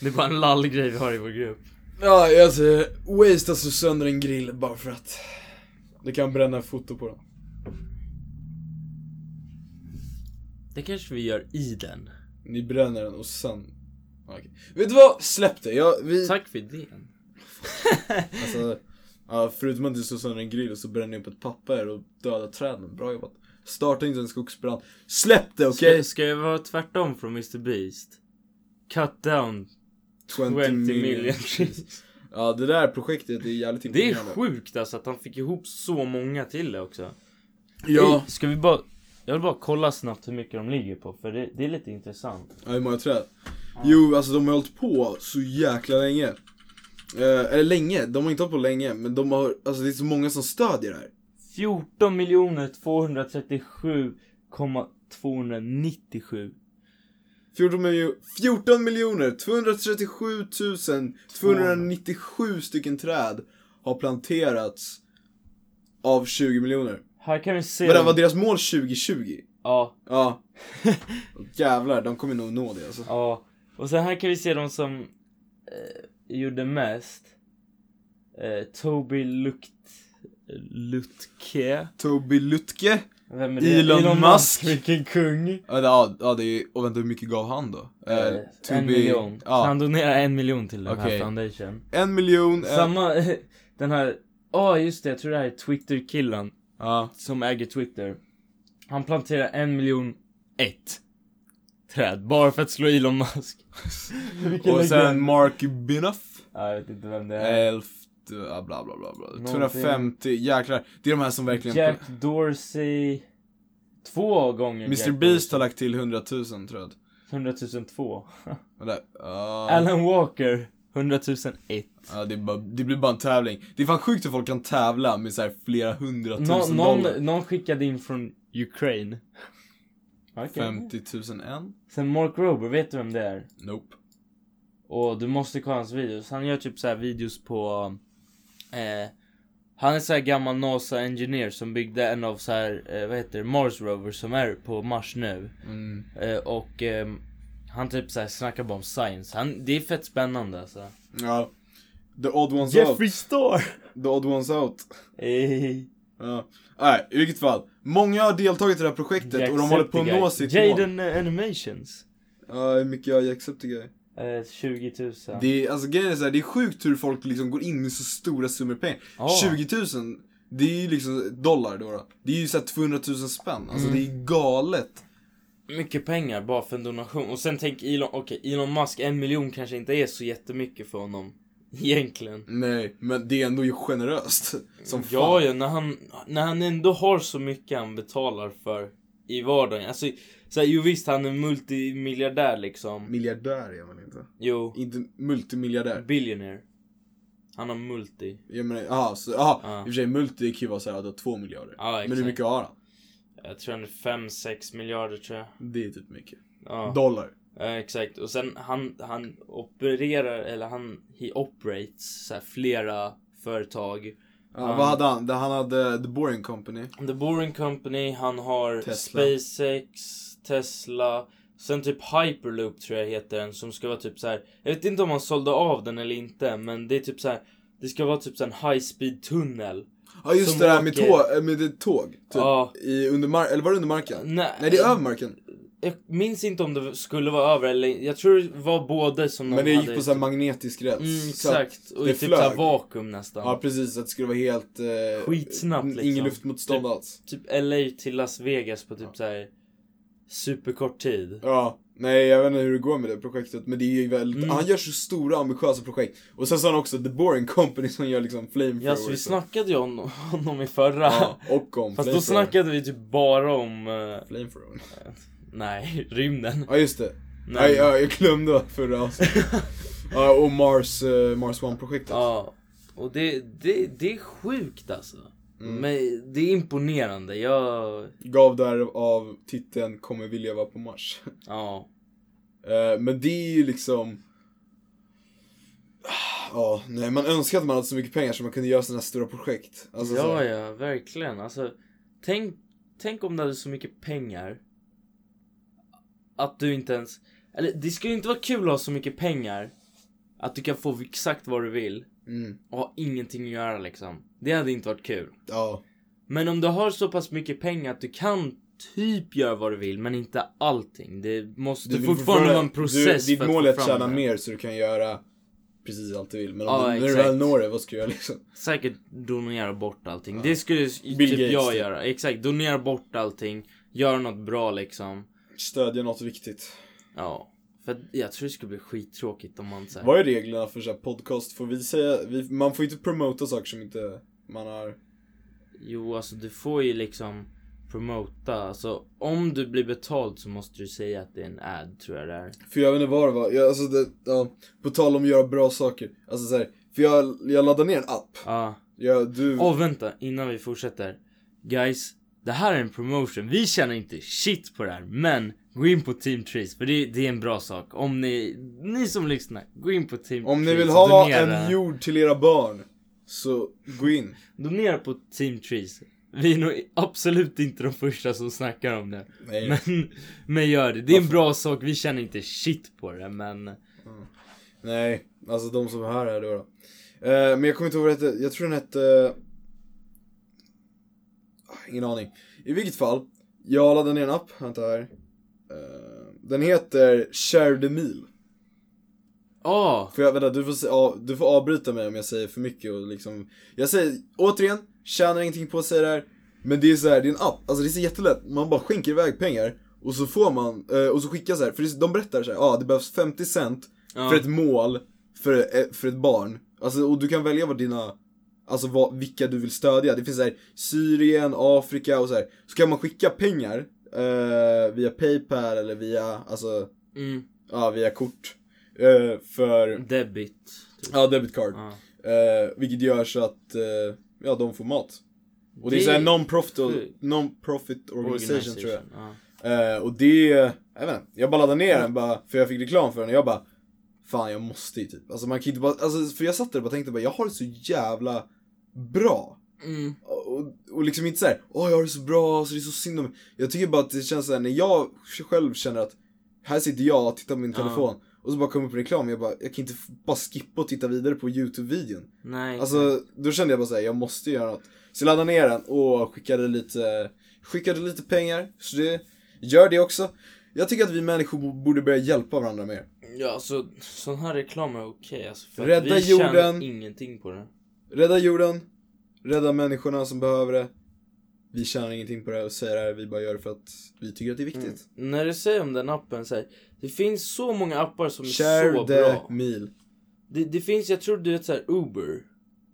Det är bara en lallgrej vi har i vår grupp Ja, jag säger waste att slå sönder en grill bara för att. Det kan bränna foto på den. Det kanske vi gör i den Ni bränner den och sen... Okej. Vet du vad? Släpp det. Jag, vi, Tack för idén. Alltså, ja, förutom att du slog sönder en grill så brände ni upp ett papper och dödade träden. Bra jobbat. Starta inte en skogsbrand. Släpp det okej? Ska, ska jag vara tvärtom från Mr Beast? Cut down 20 million trees. Ja det där projektet är jävligt Det är sjukt alltså att han fick ihop så många till det också. Ja. Hej, Ska vi bara... Jag vill bara kolla snabbt hur mycket de ligger på för det, det är lite intressant. ja, hur många träd? Jo alltså de har hållit på så jäkla länge. Eh, eller länge, de har inte hållit på länge men de har, alltså det är så många som stödjer det här. 14 miljoner 237,297. 14, miljo- 14 miljoner 237 297 stycken träd har planterats av 20 miljoner. Här kan vi se... Men det var deras mål 2020? Ja, Ja. Jävlar, de kommer nog nå det alltså. ja. Och sen här kan vi se de som eh, gjorde mest. Eh, Toby Lukt... Lutke. Toby Lutke? Vem är Elon Musk. Vilken kung. Ja, det- ja, ja det är, och vänta hur mycket gav han då? Eh, Eh, Toby- en miljon. Så Ja, han donerar en miljon till den här Okej. foundation. en miljon. eh, Samma, den här, ja just det, jag tror det här är Twitter-killen Ja. som äger Twitter. Han planterar en miljon ett träd bara för att slå Elon Musk. Och sen Eh, Mark Binoff. Ja, jag vet inte vem det är. Elfte, ja, bla bla bla. bla. Eh. Någonting. 250, jäklar. Det är de här som verkligen... Jack Dorsey. Två gånger Mr Jack Beast har Dorsey. lagt till 100 000 träd. 100 002. Men där, ja. Alan Walker. 100 001. Ja, det, är bara, det blir bara en tävling. Det är fan sjukt hur folk kan tävla med så här flera Nå- hundratusen dollar. någon, någon skickade in från Ukraine. Okej. 50 000 en? Sen Mark Rober, vet du vem det är? Nope. Och du måste kolla hans videos. Han gör typ så här videos på... Eh, han är så här gammal NASA engineer som byggde en av så här, eh, vad heter det, Mars Rover som är på Mars nu. Mm. Eh, och ehm, han typ så här snackar bara om science. Han, det är fett spännande alltså. Ja. The odd ones out. Star! The odd ones out. Hey. Ja. Nej, i vilket fall. Många har deltagit i det här projektet och de håller på att nå sitt mål. Jaden eh, Animations. Ja, hur mycket jag Jacksepticeye? Eh, 20 000. Det är, alltså grejen är så här, det är sjukt hur folk liksom går in med så stora summor pengar. Ja. 20 000, det är ju liksom dollar då. då. Det är ju såhär 200 000 spänn. Alltså Mm. det är galet. mycket pengar bara för en donation. Och sen tänk Elon, okej Elon Musk, en miljon kanske inte är så jättemycket för honom. Egentligen. Nej, men det är ändå ju generöst. Som fan. Ja, ja, när han, när han ändå har så mycket han betalar för i vardagen. Alltså, så här, jo visst han är multimiljardär liksom. Miljardär är man inte. Jo, Inte multimiljardär. billionaire. Han har multi. Jag menar, aha, så, aha, Ja. i och för sig multi kan ju vara såhär, att du har två miljarder. Ja, men hur exakt. mycket har han? Jag tror han är 5-6 miljarder tror jag. Det är typ mycket. Ja. Dollar. Ja, exakt. Och sen han, han opererar, eller han, he operates så här, flera företag. Ja, Han- Vad hade han? Det- Han hade eh, The Boring Company. The Boring Company, han har Tesla. SpaceX, Tesla. Sen typ Hyperloop tror jag heter den som ska vara typ så här. Jag vet inte om han sålde av den eller inte men det är typ så här. Det ska vara typ så här en high speed tunnel. Ja just Som det där med, åker- tå, med det tåg. Typ. Ja. I under mar- eller var det under marken? Nej, Nej det är över marken. Jag minns inte om det skulle vara över eller jag tror det var både som de Men det gick hade- på så här magnetisk räls. mm, Så att- Exakt. Och det i typ så här flög. vakuum nästan. ja precis, att det skulle vara helt... Eh, Skitsnabbt, n- liksom. Ingen luftmotstånd alls. Typ LA till Las Vegas på typ så här superkort tid. Ja, nej jag vet inte hur det går med det projektet men det är ju väldigt, Mm. han gör så stora ambitiösa projekt. Och sen så har han också The Boring Company som gör liksom flamethrower. Ja, så vi snackade ju om honom i förra. Ja, och om Fast flamethrower. då snackade vi typ bara om... eh, Flamethrower. nej, rymden. Ja just det. Nej. Nej. Ja, jag glömde förra avsnittet. ja, och Mars, eh, Mars One-projektet. Ja. Och det, det, det är sjukt alltså. Mm. Men det är imponerande. Jag... Gav därav titeln Kommer vilja vara på Mars. Ja. Eh, men det är ju liksom... ah, Ja, nej man önskar att man hade så mycket pengar så man kunde göra sådana här stora projekt. Alltså, så ja, här, ja, verkligen. Alltså, tänk, tänk om du hade så mycket pengar. Att du inte ens... Eller det skulle ju inte vara kul att ha så mycket pengar. Att du kan få exakt vad du vill. Mm, Och ha ingenting att göra liksom. Det hade inte varit kul. ja. Men om du har så pass mycket pengar att du kan typ gör vad du vill men inte allting. Det måste vill fortfarande vara en process Du, ditt för att mål få är att fram tjäna det. mer så du kan göra precis allt du vill. Men om Ja, du, när du exakt. väl når det, vad ska du göra liksom? Säkert donera bort allting. Det skulle s- Bill typ Gates, jag typ. göra. Exakt, donera bort allting. Göra något bra liksom. Stödja något viktigt. Ja. För att jag tror det skulle bli skittråkigt om man säger. Vad är reglerna för så här podcast? Får vi säga, vi, man får inte promota saker som inte man har... Jo alltså du får ju liksom promota. Alltså om du blir betald så måste du säga att det är en ad tror jag det är. För jag vet inte vad det var, jag, alltså det, ja, på tal om att göra bra saker. Alltså så här, för jag, jag laddade ner en app. Ja. Jag, du, Åh vänta innan vi fortsätter. Guys, det här är en promotion. Vi känner inte shit på det här men gå in på Team Trees för det, det är en bra sak. Om ni, ni som lyssnar, gå in på Team om ni Trees vill och ha donera. en jord till era barn, så gå in. Donera på Team Trees. Vi är nog absolut inte de första som snackar om det. Nej. Men, men gör det. Det är en bra sak. Vi känner inte shit på det men. Nej, alltså de som är här är då. då. Eh, men jag kommer inte ihåg vad det hette, jag tror den hette... Ah, Ingen aning. I vilket fall, jag laddade ner en app, vänta här. Eh, den heter Share the Meal. Ja, Får jag, vänta, du får, se- ja, du får avbryta mig om jag säger för mycket och liksom Jag säger, återigen, tjänar ingenting på att säga det här Men det är så här, det är en app, alltså det är så jättelätt, man bara skänker iväg pengar Och så får man, eh, och så skickar så här, för det, är- de berättar så här, ja ah, det behövs 50 cent Ja. för ett mål för, eh, för ett barn Alltså och du kan välja vad dina, alltså vad, vilka du vill stödja Det finns så här Syrien, Afrika och så här Så kan man skicka pengar eh, via Paypal eller via, alltså, mm, ja via kort eh, för debit. Typ. Ja, debit card. Ja. Eh, vilket gör så att, eh, ja de får mat. Och det, Det är är en non-profit, sjukt. non-profit organisation, tror jag. Ja. Eh, och det, jag vet inte, jag bara laddade ner den bara, för jag fick reklam för den och jag bara Fan jag måste ju typ, alltså man kan inte bara, alltså för jag satt där och bara tänkte bara jag har det så jävla bra. Mm. Och, och- och liksom inte såhär, åh jag har det så bra, så det är så synd om mig. Jag tycker bara att det känns såhär när jag själv känner att här sitter jag och tittar på min Ja. telefon och så bara kommer upp en reklam, jag bara, jag kan inte f- bara skippa och titta vidare på YouTube-videon. Nej. Alltså, då kände jag bara såhär, jag måste göra något. Så jag laddade ner den och skickade lite, skickade lite pengar. Så det, gör det också. Jag tycker att vi människor bo- borde börja hjälpa varandra mer. ja, alltså sån här reklam är okej. alltså, för att Rädda vi tjänar jorden. ingenting på det. Mm. Rädda jorden, rädda människorna som behöver det. Vi tjänar ingenting på det och säger det här, vi bara gör det för att vi tycker att det är viktigt. När du säger om den appen så här, det finns så många appar som är så Share the bra. meal. Det, det finns, jag tror du vet såhär Uber.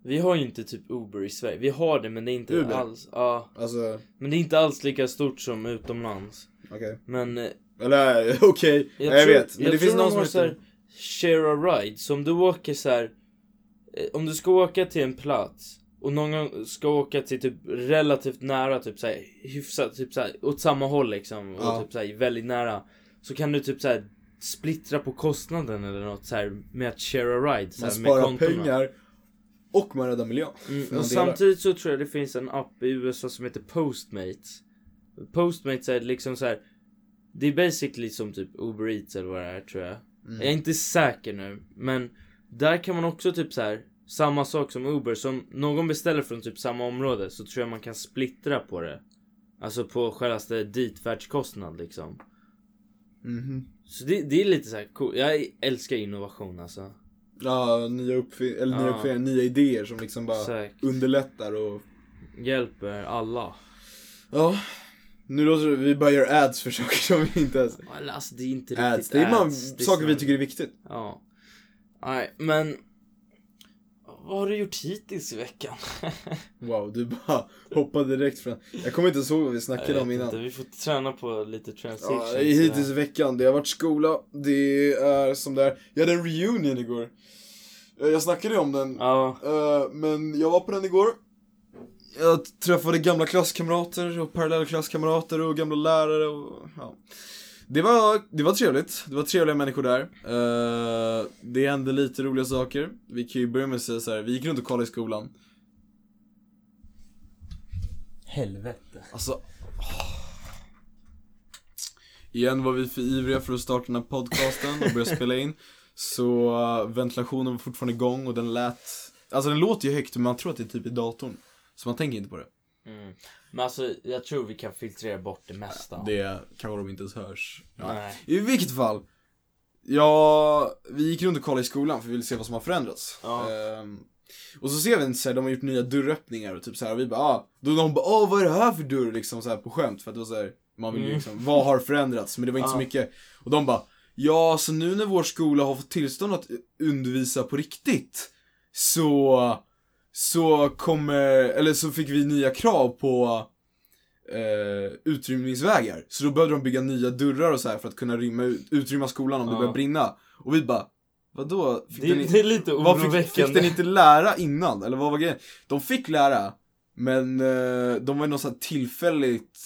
Vi har ju inte typ Uber i Sverige. Vi har det men det är inte Uber? alls. Ja, Alltså, men det är inte alls lika stort som utomlands. okej. Men eh, Eller okej, Nej, jag, tror- vet. Men det tror finns de någon som har så heter... här, Share a ride. Så om du åker så här. eh, Om du ska åka till en plats och någon gång ska åka till typ relativt nära, typ så här, hyfsat, typ så här, åt samma håll liksom. Och Ja. typ så här, väldigt nära. Så kan du typ så här splittra på kostnaden eller något så här med att share a ride. Så Man här, med sparar kontona. pengar och man räddar miljön. Mm, Man och delar. samtidigt så tror jag det finns en app i USA som heter Postmates. Postmates är liksom så här. Det är basically som typ Uber Eats eller vad det är tror jag. Mm. Jag är inte säker nu. Men där kan man också typ så här. Samma sak som Uber. Som någon beställer från typ samma område så tror jag man kan splittra på det. Alltså på självaste ditfärdskostnad liksom. Mhm. Så det, det är lite så här cool. Jag älskar innovation alltså. Ja, nya uppfin- eller nya Ja. uppfinningar, nya idéer som liksom bara Säkert. underlättar och... Hjälper alla. Ja. Nu låter det, vi bara gör ads för saker som vi inte ens... Eller, Alltså det är inte riktigt Ads, Äh, det är man, ads. Det är saker vi snarare- tycker är viktigt. Ja. Nej, men. Vad har du gjort hittills i veckan? Wow, du bara hoppade direkt från... Jag kommer inte ens ihåg vad vi snackade om innan. vi får träna på lite transition. Ja, hittills i veckan, det har varit skola, det är som det är. Jag hade en reunion igår. Eh, Jag snackade ju om den, Ja, eh, men jag var på den igår. Jag träffade gamla klasskamrater och parallellklasskamrater och gamla lärare och ja. Det var, det var trevligt, det var trevliga människor där. Eh, det hände lite roliga saker. Vi kan ju börja med att säga så här, vi gick runt och kollade i skolan. helvete. Alltså... åh. Igen var vi för ivriga för att starta den här podcasten och börja spela in. Så eh, ventilationen var fortfarande igång och den lät... Alltså den låter ju högt men man tror att det är typ i datorn. Så man tänker inte på det. Mm. Men alltså jag tror vi kan filtrera bort det mesta. Det kanske de inte ens hörs. Ja. Nej. I vilket fall. Ja, vi gick runt och kollade i skolan för vi ville se vad som har förändrats. Ja. Ehm, och så ser vi en så här, de har gjort nya dörröppningar och typ så här, och vi bara ah. Då de bara ah, vad är det här för dörr liksom så här på skämt för att det var så här, man vill ju Mm. liksom, vad har förändrats? Men det var inte så Ja. mycket. Och de bara ja, så nu när vår skola har fått tillstånd att undervisa på riktigt så så kommer, eller så fick vi nya krav på eh, utrymningsvägar. Så då behövde de bygga nya dörrar och så här för att kunna rymma, ut- utrymma skolan om det Ja. började brinna. Och vi bara, vadå? Fick Det, den i- det är lite vad fick, fick den oroväckande. inte lära innan? Eller vad var grejen? De fick lära, men eh, de var i något sånt här tillfälligt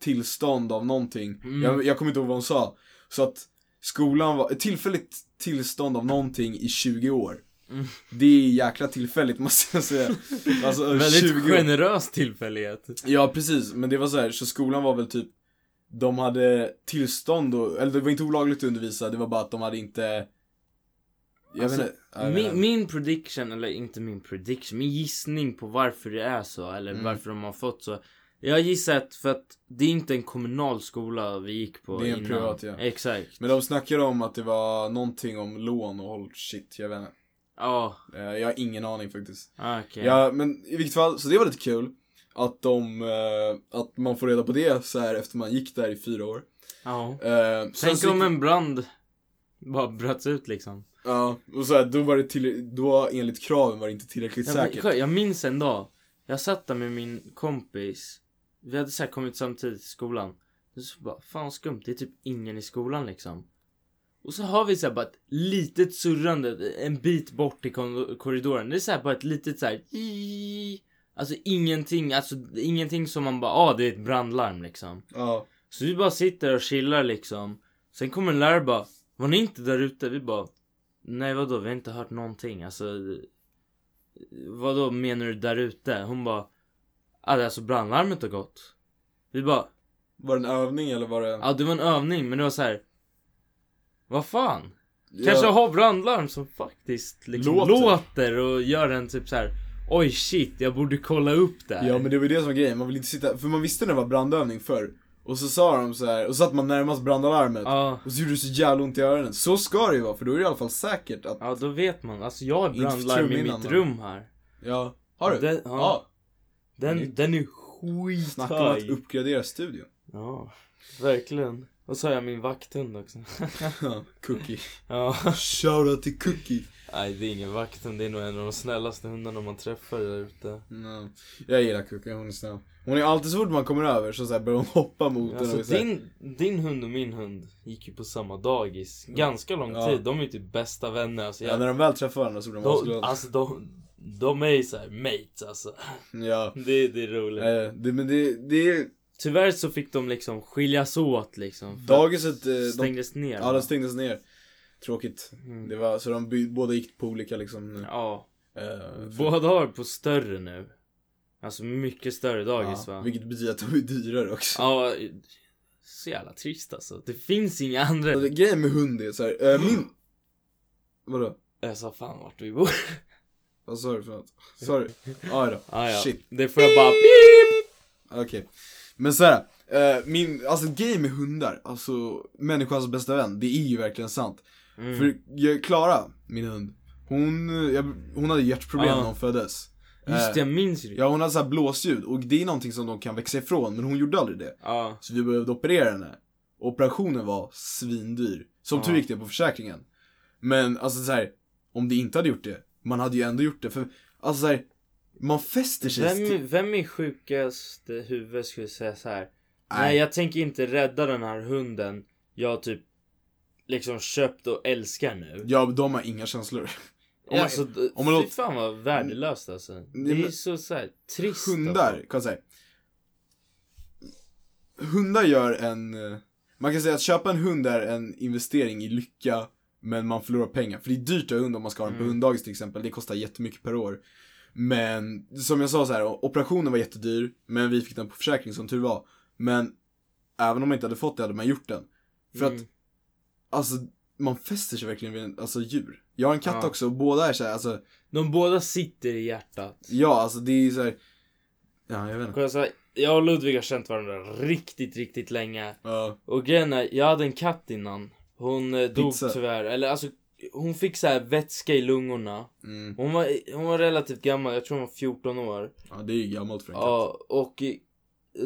tillstånd av någonting. Mm. Jag, jag kommer inte ihåg vad hon sa. Så att skolan var, ett tillfälligt tillstånd av någonting i 20 år. Mm. Det är jäkla tillfälligt måste jag säga. Alltså, Väldigt 20 år. generös tillfällighet. Ja precis, men det var så här, så skolan var väl typ De hade tillstånd och, eller det var inte olagligt att undervisa, det var bara att de hade inte Jag Alltså, vet inte, ja, jag vet inte. Min, min prediction, eller inte min prediction, min gissning på varför det är så eller Mm. varför de har fått så. Jag gissar att för att det är inte en kommunal skola vi gick på Det är en innan. privat, ja. Exakt. Men de snackade om att det var någonting om lån och håll shit, jag vet inte Ja, Eh, Jag har ingen aning faktiskt okej. Ja men i vilket fall, så det var lite kul Att de, eh, att man får reda på det så här efter man gick där i fyra år Ja. Eh, sen Tänk så om gick- en brand bara bröts ut liksom. Ja, och så här, då var det till, då enligt kraven var det inte tillräckligt Jag, säkert jag minns en dag. Jag satt där med min kompis. Vi hade så här kommit samtidigt till skolan. Och så bara, fan skumt, det är typ ingen i skolan liksom. Och så har vi så här bara ett litet surrande en bit bort i kon- korridoren. Det är så här bara ett litet så här. "Ii". Alltså ingenting, alltså ingenting som man bara, ah det är ett brandlarm liksom. Ja, Så vi bara sitter och chillar liksom. Sen kommer en lärare bara. Var ni inte där ute? Vi bara. Nej vadå? Vi har inte hört någonting. Alltså. Vadå menar du där ute? Hon bara. "Ah, Alltså brandlarmet har gått. Vi bara. var det en övning eller var det? Ja det var en övning men det var så här. Vad fan? Kanske ha brandlarm som faktiskt liksom Låter. låter. och gör en typ så här. Oj shit jag borde kolla upp det här. Ja men det var ju det som var grejen, man vill inte sitta, för man visste när det var brandövning förr Och så sa de så här, och så satt man närmast brandalarmet ja. Och så gjorde det så jävla ont i öronen, så ska det ju vara för då är det i alla fall säkert att, Ja då vet man. Alltså jag har Inte för brandlarm i trumhinnan, då. mitt rum här. ja, har du? Det- ja. ja. Den, den är Snacka om att skithög. uppgradera studion Ja, verkligen. Och så har jag min vakthund också. Cookie Ja. Shoutout till Cookie Nej, det är ingen vakthund. Det är nog en av de snällaste hundarna man träffar där ute. no. Jag gillar Cookie, hon är snäll Hon är alltid så fort man kommer över så, så här börjar hon hoppa mot en och så Alltså här- din, din hund och min hund gick ju på samma dagis. Ganska lång Ja. tid. De är ju typ bästa vänner. Alltså, Ja jag, när de väl träffar varandra så blir de de, asglada alltså de, de är ju såhär mates alltså. Ja, Det, det är roligt. eh, det, men det, det är Tyvärr så fick de liksom skiljas åt liksom. för dagiset, eh, att de, stängdes ner. ja va? de stängdes ner Tråkigt Mm. Det var, så de by- båda gick på olika liksom Ja, eh, för- båda har på större nu. Alltså mycket större dagis va? Vilket betyder att de är dyrare också Ja, så jävla trist alltså. Det finns inga andra. Alltså, Grejen med hund är såhär, eh, min... Vadå? Jag sa fan vart vi bor. Vad sa du för något? Sorry. Ah, då. Ah, ja. Shit. Det får jag bara pip! Okej. Men såhär, eh, min, alltså grejen med hundar, alltså människans bästa vän, det är ju verkligen sant. Mm. För jag, Klara, min hund, hon, eh, jag, hon hade hjärtproblem Ja. när hon föddes. Just det, Eh, jag minns ju det. Ja hon hade såhär blåsljud och det är någonting som de kan växa ifrån men hon gjorde aldrig det. Ja. Så vi behövde operera henne. Operationen var svindyr. Som tur Ja. gick det på försäkringen. Men alltså så här, om det inte hade gjort det, man hade ju ändå gjort det. För alltså så här, man fäster sig. till- Vem, vem i sjukaste huvud skulle säga så här. Nej. typ- Nej. jag tänker inte rädda den här hunden jag typ liksom köpt och älskar nu. Ja, de har inga känslor. om man- alltså, d- om man fy låter- fan vad värdelöst alltså. Det är men- ju så, så här, trist. alltså. Hundar, kan jag säga. Hundar gör en, eh, man kan säga att köpa en hund är en investering i lycka, men man förlorar pengar. För det är dyrt att ha hund om man ska ha den på Mm. hunddagis till exempel, det kostar jättemycket per år. Men som jag sa så här, operationen var jättedyr, men vi fick den på försäkring som tur var. Men även om man inte hade fått det hade man gjort den. För att Mm. alltså, man fäster sig verkligen vid en, alltså, djur. Jag har en katt Ja. också och båda är så här, alltså De båda sitter i hjärtat. Ja, alltså det är ju så här. Ja, jag vet inte. Och jag, så här, jag och Ludvig har känt varandra riktigt, riktigt länge. Ja, Och grejen är, jag hade en katt innan. Hon eh, dog Pizza. tyvärr. Eller alltså, hon fick så här vätska i lungorna. mm. Hon var, hon var relativt gammal, jag tror hon var 14 år. ja, det är ju gammalt för en katt. Ja, och i-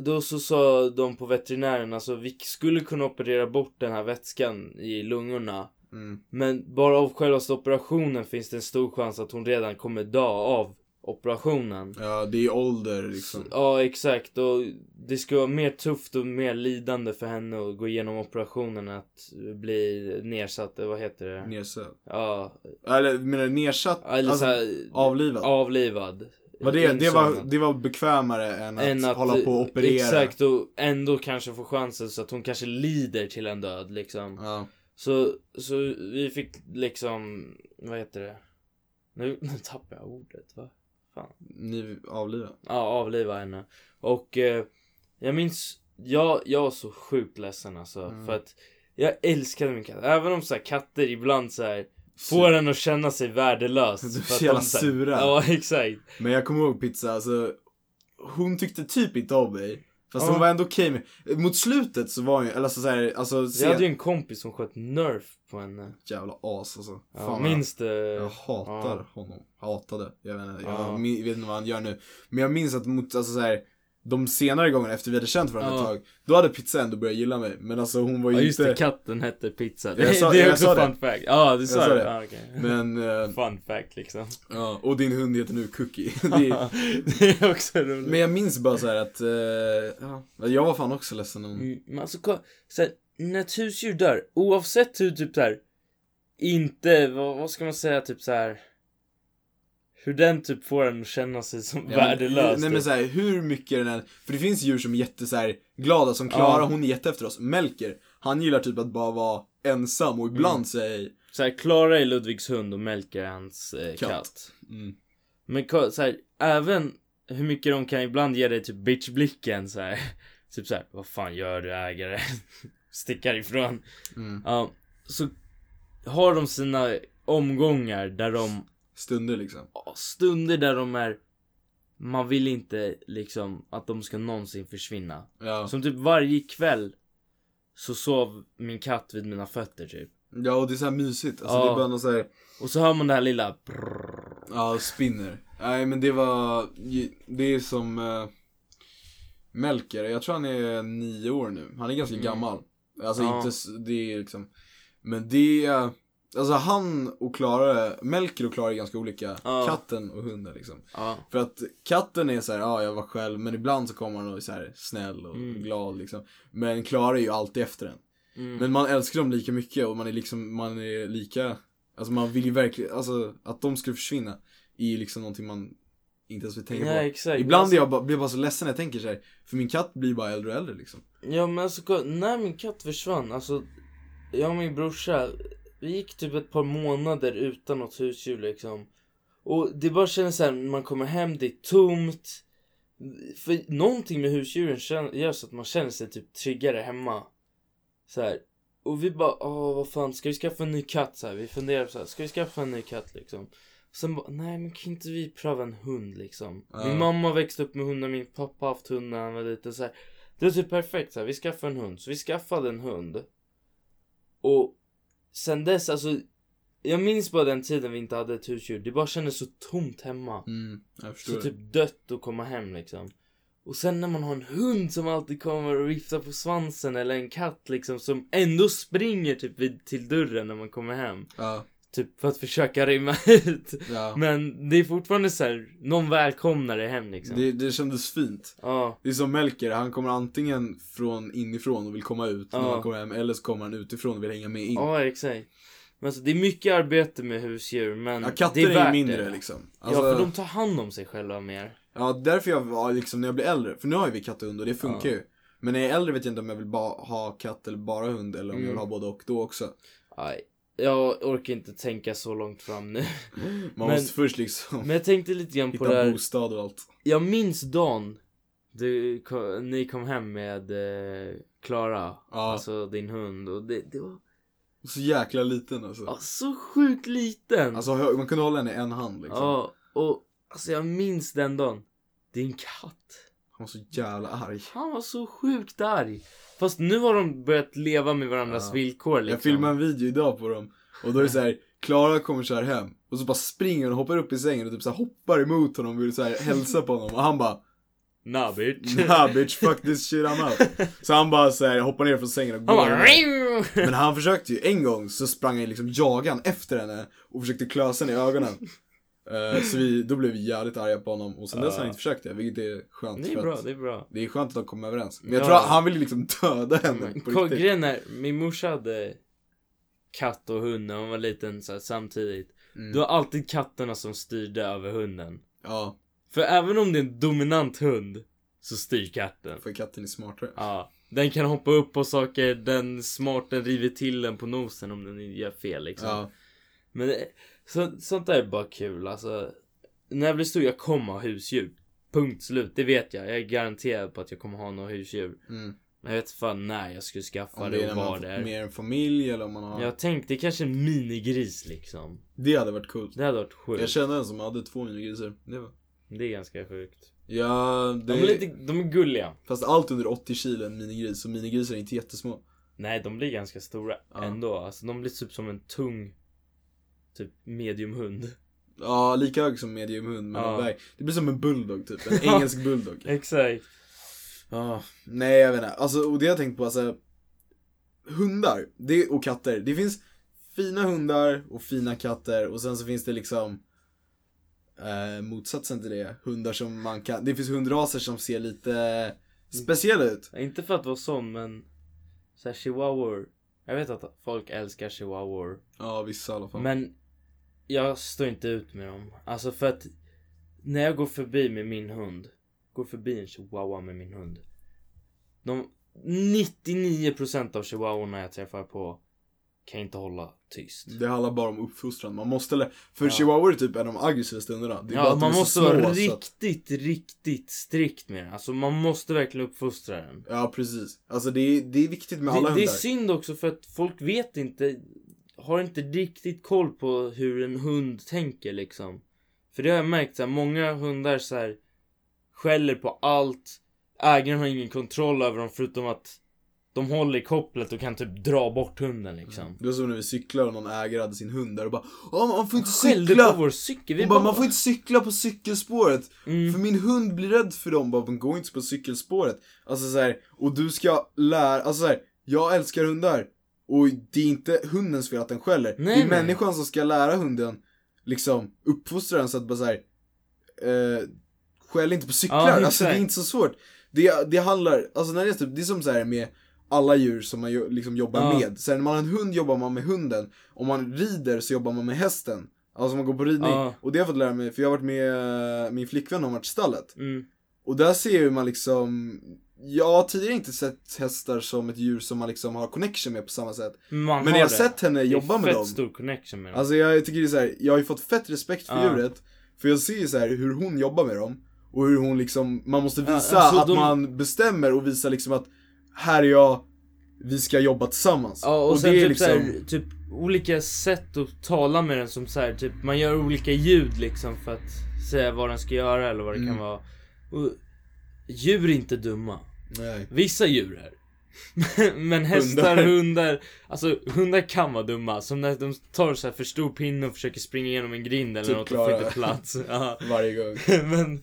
då så sa de på veterinären alltså vi skulle kunna operera bort den här vätskan i lungorna. Mm. Men bara av självaste operationen finns det en stor chans att hon redan kommer dö av operationen. Ja, det är ålder liksom. Ja, exakt. Och det ska vara mer tufft och mer lidande för henne att gå igenom operationen än att bli nersatt, vad heter det? Nedsatt. Ja, Eller menar du nedsatt? eller Alltså, såhär, avlivad? avlivad. Var det, det, var, Insomnad. det var bekvämare än att, än att hålla på och operera? Exakt, och ändå kanske få chansen så att hon kanske lider till en död liksom. Ja. Så, så vi fick liksom, vad heter det? Nu, nu tappar jag ordet va? Ni avliva? Ja, avliva henne. Och eh, jag minns, jag, jag var så sjukt ledsen alltså. Mm. För att jag älskade min katt. Även om så här, katter ibland så här får en att känna sig värdelös. De är för så att jävla så här- sura. Ja, exakt. Men jag kommer ihåg pizza, alltså Hon tyckte typ inte om mig Fast Ja. hon var ändå okej med Mot slutet så var hon ju, eller alltså såhär, alltså Jag sen... hade ju en kompis som sköt nerf på henne. Jävla as alltså Ja, Fan, vad minns det? jag, jag hatar Ja. honom Hatade, jag vet inte, jag Ja. min, vet inte vad han gör nu Men jag minns att mot, alltså såhär De senare gångerna efter vi hade känt varandra Ja. ett tag Då hade pizza ändå börjat gilla mig Men alltså hon var ju Ja just inte det, katten hette pizza. Det, Jag sa- det är jag också sa det. fun fact. Ja du sa sa det. det. Ja, okej. Men, eh, Fun fact liksom. ja, och din hund heter nu Cookie det är, det är också roligt. Men jag minns bara såhär att, eh, ja, jag var fan också ledsen om Mm, Men alltså kolla, så här, när ett husdjur dör, oavsett hur typ så här, inte, vad, vad ska man säga, typ så här. Hur den typ får en att känna sig som Ja, men- värdelös. Nej men typ. såhär, hur mycket den än, för det finns djur som är jätte så här, glada som Klara, Ja. hon är jätte efter oss. Melker, han gillar typ att bara vara ensam och ibland Mm. säger så här, Klara är Ludvigs hund och Melker är hans eh, katt. Katt. mm. Men ko- så här, även hur mycket de kan ibland ge dig typ bitchblicken så här. Typ så här, vad fan gör du ägare? Stickar ifrån. Mm. Ja, så har de sina omgångar där de stunder liksom. ja, stunder där de är man vill inte liksom att de ska någonsin försvinna. Ja. Som typ varje kväll så sov min katt vid mina fötter typ. ja, och det är såhär mysigt. Alltså Ja. det är bara någon såhär, Och så hör man det här lilla brrrr. ja, spinner. Nej men det var, det är som eh, Melker, jag tror han är nio år nu. Han är ganska Mm. gammal. Alltså Ja. inte, s- det är liksom, men det är, alltså han och Klara, Melker och Klara är ganska olika. Ja. Katten och hunden liksom. Ja. För att katten är så här, ja jag var själv, men ibland så kommer han och är så här snäll och Mm. glad liksom. Men Klara är ju alltid efter den. Mm. Men man älskar dem lika mycket och man är liksom, man är lika, alltså man vill ju verkligen, alltså att de skulle försvinna är ju liksom någonting man inte ens vill tänka ja, på. exakt. Ibland Alltså- är jag bara, blir jag bara så ledsen när jag tänker så här, för min katt blir bara äldre och äldre liksom. Ja men alltså kolla, när min katt försvann, alltså jag och min brorsa, vi gick typ ett par månader utan något husdjur liksom. Och det bara känns såhär, man kommer hem, det är tomt. För någonting med husdjuren kän- gör så att man känner sig typ tryggare hemma. Så här. Och vi bara, åh vad fan, ska vi skaffa en ny katt? Så här, vi funderar på så här, ska vi skaffa en ny katt liksom? Sen bara, nej men kan inte vi pröva en hund liksom? Ja. Min mamma växte upp med hundar, min pappa har haft hund när han var liten. Så här. Det var typ perfekt så här, vi skaffade en hund. Så vi skaffade en hund. Och sen dess, alltså. Jag minns bara den tiden vi inte hade ett husdjur. Det bara kändes så tomt hemma. Mm, jag förstår. Så det. typ dött att komma hem liksom. Och sen när man har en hund som alltid kommer och viftar på svansen eller en katt liksom som ändå springer typ vid, till dörren när man kommer hem. Ja, Typ för att försöka rymma ut. ja. Men det är fortfarande så här, någon välkomnar dig hem liksom. Det, det kändes fint. Ja, Det är som Melker, han kommer antingen från inifrån och vill komma ut när Ja. han kommer hem, eller så kommer han utifrån och vill hänga med in. ja exakt. Men alltså det är mycket arbete med husdjur men Ja, katter det är, är, värt ju mindre det. liksom. Ja Alltså, för de tar hand om sig själva mer. ja, därför jag var liksom när jag blir äldre, för nu har ju vi katt och hund och det funkar Ja. ju. Men när jag är äldre vet jag inte om jag vill bara ha katt eller bara hund eller om jag vill Mm. ha både och då också. Aj, jag orkar inte tänka så långt fram nu. Man Men- måste först liksom Men jag tänkte lite grann på det hitta här. bostad och allt. Jag minns dagen du, ko- ni kom hem med eh, Klara, Ja, alltså din hund. Och det, det var så jäkla liten alltså. ja, så sjukt liten. Alltså liksom. hö- man kunde hålla henne i en hand liksom. ja, och alltså jag minns den dagen. Din katt. Han var så jävla arg. Han var så sjukt arg. Fast nu har de börjat leva med varandras Ja. villkor liksom. Jag filmade en video idag på dem. Och då är det så här, Klara kommer så här hem. Och så bara springer hon och hoppar upp i sängen och typ så här hoppar emot honom och vill så här hälsa på honom. Och han bara Nah bitch. Nah bitch, fuck this shit I'm out. Så han bara så här, hoppar ner från sängen och går. Han bara... iväg. Men han försökte ju, en gång så sprang han liksom jagan efter henne och försökte klösa henne i ögonen. Eh, så vi, då blev vi jävligt arga på honom och sen dess har han inte försökt det, vilket är skönt. Det för är bra, att det är bra. det är skönt att de kommer överens. Men jag Ja. Mm. tror att han ville liksom döda henne Men på ko- riktigt. Grejen är, min morsa hade katt och hund när hon var liten så här, samtidigt. Mm. Det var alltid katterna som styrde över hunden. Ja, För även om det är en dominant hund så styr katten. för katten är smartare. Ja. Den kan hoppa upp på saker, den smart, den river till den på nosen om den gör fel liksom. Ja. Men det- så, sånt där är bara kul alltså. När jag blir stor, jag kommer ha husdjur. Punkt slut, det vet jag. Jag är garanterad på att jag kommer ha några husdjur. Mm. Men jag vet fan när jag skulle skaffa Om det det är när och man var har det fått är. mer en familj eller om man har... Jag tänkte kanske en minigris liksom. Det hade varit coolt. Det hade varit Jag sjukt. kände en som hade två minigrisar. Det var... Det är ganska sjukt. Ja, det... De är lite, de är gulliga. Fast allt under 80 kilo är en minigris, så minigrisar är inte jättesmå. Nej, de blir ganska stora Ja. ändå. Alltså de blir typ som en tung, typ mediumhund. Ja, lika hög som mediumhund men Ja. de väger. Det blir som en bulldog typ, en engelsk bulldog. Exakt. Ja, nej jag vet inte. Alltså, och det har jag tänkt på, alltså. Hundar det, och katter. Det finns fina hundar och fina katter och sen så finns det liksom eh, motsatsen till det. Hundar som man kan, det finns hundraser som ser lite speciella ut. Inte för att vara sån, men så här, chihuahuor. Jag vet att folk älskar chihuahuor. Ja, vissa i alla fall. Men jag står inte ut med dem. Alltså för att när jag går förbi med min hund. Går förbi en chihuahua med min hund. De 99% av chihuahuorna jag träffar på kan inte hålla tyst. Det handlar bara om uppfostran. Man måste, lä- för Ja. chihuahua är typ en av de aggressivaste hundarna. Det är bara Ja, att de man är så måste små, så vara att- riktigt, riktigt strikt med den. Alltså man måste verkligen uppfostra den. Ja, precis. Alltså det är, det är viktigt med alla Det, det är hundar. synd också för att folk vet inte, har inte riktigt koll på hur en hund tänker liksom. För det har jag märkt så här, många hundar så här skäller på allt. Ägaren har ingen kontroll över dem förutom att de håller i kopplet och kan typ dra bort hunden liksom. Det var som när vi cyklade och någon ägare hade sin hund där och bara "Ja, man får inte Skällde på cykla! vår cykel. Vi Hon bara, man får inte cykla på cykelspåret! Mm. För min hund blir rädd för dem, bara, man går inte på cykelspåret. Alltså så här, och du ska lära, alltså så här, jag älskar hundar. Och det är inte hundens fel att den skäller. Nej, det är nej. människan som ska lära hunden, liksom, uppfostra den så att bara så här, eh, skäll inte på cyklar. Ja, alltså det är exakt. inte så svårt. Det, det handlar, alltså när det är typ, det är som så här med alla djur som man jo- liksom jobbar Ja. med. Så här, när man har en hund jobbar man med hunden. Om man rider så jobbar man med hästen. Alltså man går på ridning. Ja. Och det har jag fått lära mig, för jag har varit med eh, min flickvän har varit i stallet. Mm. Och där ser jag hur man liksom, jag har tidigare inte sett hästar som ett djur som man liksom har connection med på samma sätt. Man Men jag har det. sett henne jobba Det med är dem. fett stor connection med dem. Alltså jag tycker det är så här, jag har ju fått fett respekt för Ja. djuret. För jag ser ju så här hur hon jobbar med dem. Och hur hon liksom, man måste Ja, visa alltså, att de- man bestämmer och visa liksom att här är jag, vi ska jobba tillsammans. Ja och, sen typ, så liksom- här, typ olika sätt att tala med den som så här, typ man gör olika ljud liksom för att säga vad den ska göra eller vad det Mm. kan vara. Och, djur är inte dumma. nej. Vissa djur är. Men hästar, Hundar. hundar. alltså hundar kan vara dumma. Som när de tar så här för stor pinne och försöker springa igenom en grind eller Typ något och får Klara. inte plats. Ja. Varje gång. men,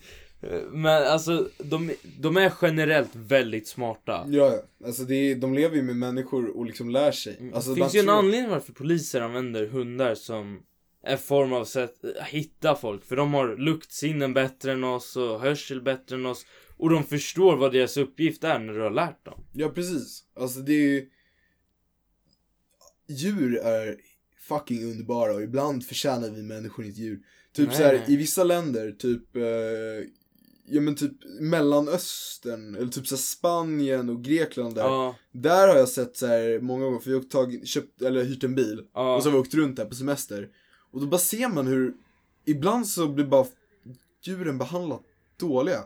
men alltså de, de är generellt väldigt smarta. Ja, alltså det är, de lever ju med människor och liksom lär sig. Alltså, Mm, det man finns ju en tror- anledning varför poliser använder hundar som en form av sätt att hitta folk. För de har luktsinnen bättre än oss och hörsel bättre än oss. Och de förstår vad deras uppgift är när du har lärt dem. Ja, precis. Alltså det är ju... Djur är fucking underbara och ibland förtjänar vi människor inte djur. Typ Nej, så här, nej. i vissa länder, typ... Eh, ja men typ Mellanöstern, eller typ så här Spanien och Grekland där. Ja, Där har jag sett så här många gånger, för vi har tagit, köpt, eller hyrt en bil. ja. Och så har vi åkt runt där på semester. Och då bara ser man hur, ibland så blir bara djuren behandlat dåliga.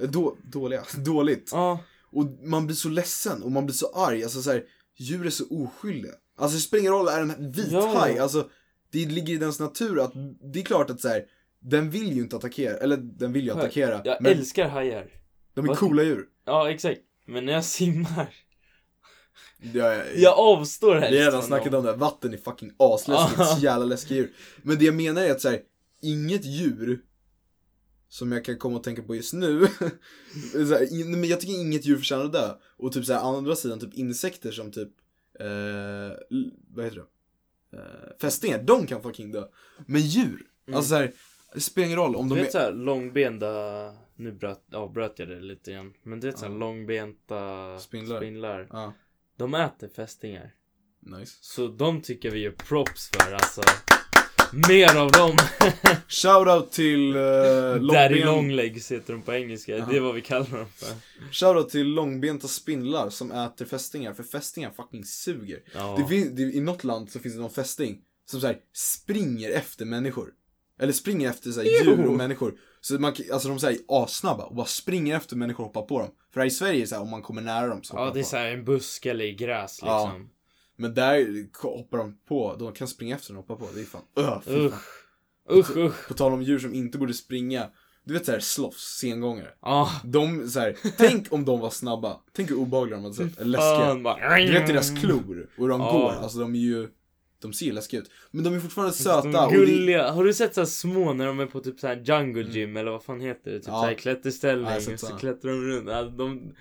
Eh, Då, dåliga, dåligt. ja. Och man blir så ledsen och man blir så arg. Alltså så här, djur är så oskyldiga. Alltså det spelar ingen roll, är den vit Ja. haj? Alltså det ligger i dens natur att det är klart att så här, den vill ju inte attackera. Eller den vill ju Nej. attackera. Jag men älskar hajar. De är Vad- coola djur. Ja exakt. Men när jag simmar. Ja, ja, ja. Jag avstår helst. Vi har redan från snackat dem. om det här, vatten är fucking asläskigt, Ja. så jävla läskiga djur. Men det jag menar är att så här, inget djur som jag kan komma att tänka på just nu. så här, in, men jag tycker inget djur förtjänar att dö. Och typ så här, andra sidan, typ insekter som typ, eh, l- vad heter det? Eh, fästingar, de kan fucking dö. Men djur, Mm. alltså så här, det spelar ingen roll om de Du är... vet såhär långbenta, nu bröt, avbröt jag det lite igen. Men du vet såhär Ja. långbenta Spindlar. spindlar. Ja, De äter fästingar. nice. Så de tycker vi gör props för alltså. Mer av dem! Shoutout till eh, Daddy långben... longlegs heter de på engelska. Ja. Det är vad vi kallar dem för. Shoutout till långbenta spindlar som äter fästingar, för fästingar fucking suger. Ja. Det finns, det, I något land så finns det någon fästing som så här, springer efter människor. Eller springer efter så här, djur och människor. Så man, kan- alltså de så här, är assnabba och bara springer efter människor och hoppar på dem. För här i Sverige är det så här, om man kommer nära dem så hoppar ja man det på. är dem. såhär en buske eller i gräs Ja. liksom. Men där hoppar de på, de kan springa efter dem och hoppa på. Det är fan, öh, fy fan. Usch. Usch usch. På tal om djur som inte borde springa. Du vet såhär sloths, sengångare. Ja. De så här, tänk om de var snabba. Tänk hur obehagliga de hade sett, eller läskiga. Fan, bara- Du vet deras klor och de Mm. Ja. går, alltså de är ju De ser ju läskiga ut Men de är fortfarande De söta är och det, Mm. gulliga. Har du sett så här små när de är på typ så här jungle gym eller vad fan heter det? Typ Ja. så här klätterställning Ja, jag har sett och så såna. klättrar de runt. Alltså, de,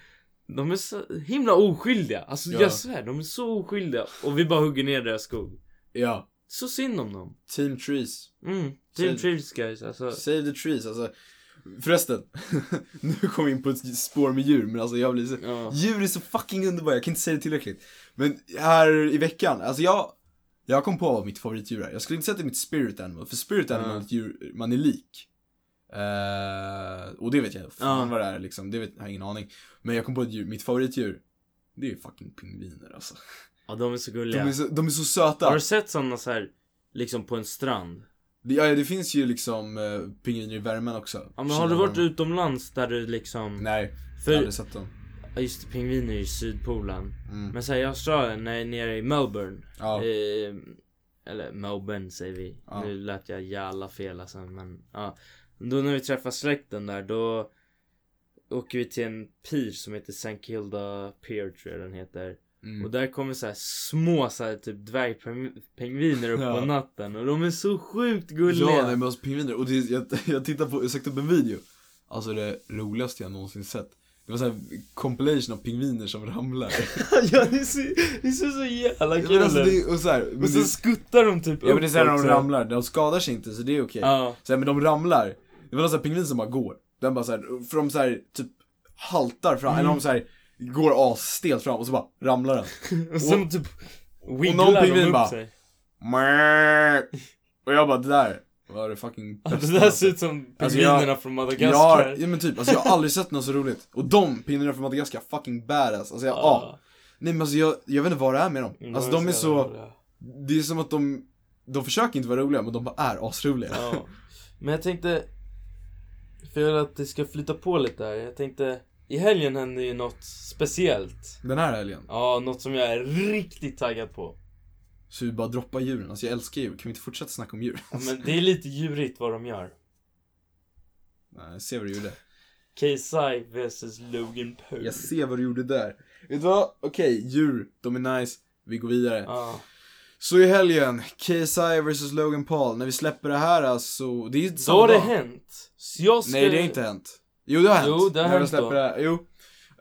de är så himla oskyldiga. Alltså Ja. jag svär, de är så oskyldiga. Och vi bara hugger ner deras skog. Ja, Så synd om dem. Team Trees Mm. Synd. Team Trees guys alltså. Save the trees, alltså Förresten, nu kom vi in på ett spår med djur men alltså jag blir så Ja. Djur är så fucking underbara, jag kan inte säga det tillräckligt Men här i veckan, alltså jag Jag kom på vad mitt favoritdjur är Jag skulle inte säga att det är mitt spirit animal, för spirit animal är Mm. ett djur man är lik Eh, Och det vet jag fan Ja. vad det är liksom, det vet, jag har ingen aning Men jag kom på ett djur, mitt favoritdjur Det är ju fucking pingviner alltså ja de är så De gulliga. är så, de är så Har söta. du sett sådana så här liksom på en strand? Det, ja, det finns ju liksom eh, pingviner i värmen också. Ja, men har du varit Kinavärmen. utomlands där du liksom... Nej, jag har för aldrig sett dem. ja, just det, pingviner är ju i Sydpolen. Mm. Men säg i Australien, när jag är nere i Melbourne. Ja, Eh, eller Melbourne säger vi. Ja. Nu lät jag jävla fel alltså, men ja. Då när vi träffar släkten där då åker vi till en pier som heter St. Kilda Pier tror jag den heter. Och mm. där kommer så här små så här, typ dvärgpingviner upp Ja. på natten och de är så sjukt ja nej, gulliga. men alltså pingviner. Och det, jag, jag tittade på, jag sökte upp en video. Alltså det roligaste jag någonsin sett. Det var såhär compilation av pingviner som ramlar. ja, det, ser, det ser så jävla Ja, kul men alltså, ut. det, och såhär, men Och så det- skuttar de typ ja men det är såhär när uppåt, de så här. ramlar, de skadar sig inte så det är okej. Ja. Så här, men de ramlar. Det var någon sån här pingvin som bara går. Den bara såhär, för de såhär typ haltar fram, eller de såhär går asstelt fram och så bara ramlar den. Och sen typ någon wigglar de pingvin upp bara, sig. Mäh. Och jag bara, det där var det fucking Ja, bästa det där alltså. ser ut som Alltså, pingvinerna jag- från jag Madagaskar. har, ja, men typ, alltså jag har aldrig sett något så roligt. Och de pingvinerna från Madagaskar, fucking badass. Alltså jag, ja. Nej men alltså jag, jag vet inte vad det är med dem. Mm, alltså de är jävla så, roliga. det är som att de, de försöker inte vara roliga men de bara är asroliga. Ja. Men jag tänkte, för jag vill att det ska flyta på lite här. Jag tänkte, i helgen hände ju något speciellt. Den här helgen, Ja, något som jag är riktigt taggad på. så vi bara droppar djuren. Alltså jag älskar djur, kan vi inte fortsätta snacka om djur? Ja, Men det är lite djurigt vad de gör. Nej, jag ser vad du gjorde. KSI vs Logan Paul. Jag ser vad du gjorde där. Vet du vad? Okej, djur, de är nice. Vi går vidare. Ja. Så i helgen, KSI vs Logan Paul. När vi släpper det här alltså, det är ju inte Så har det dag. hänt. Så jag ska... Nej det har inte hänt. Jo det har hänt. Jo, det har När vi hänt släpper då. det här. Jo. Eh,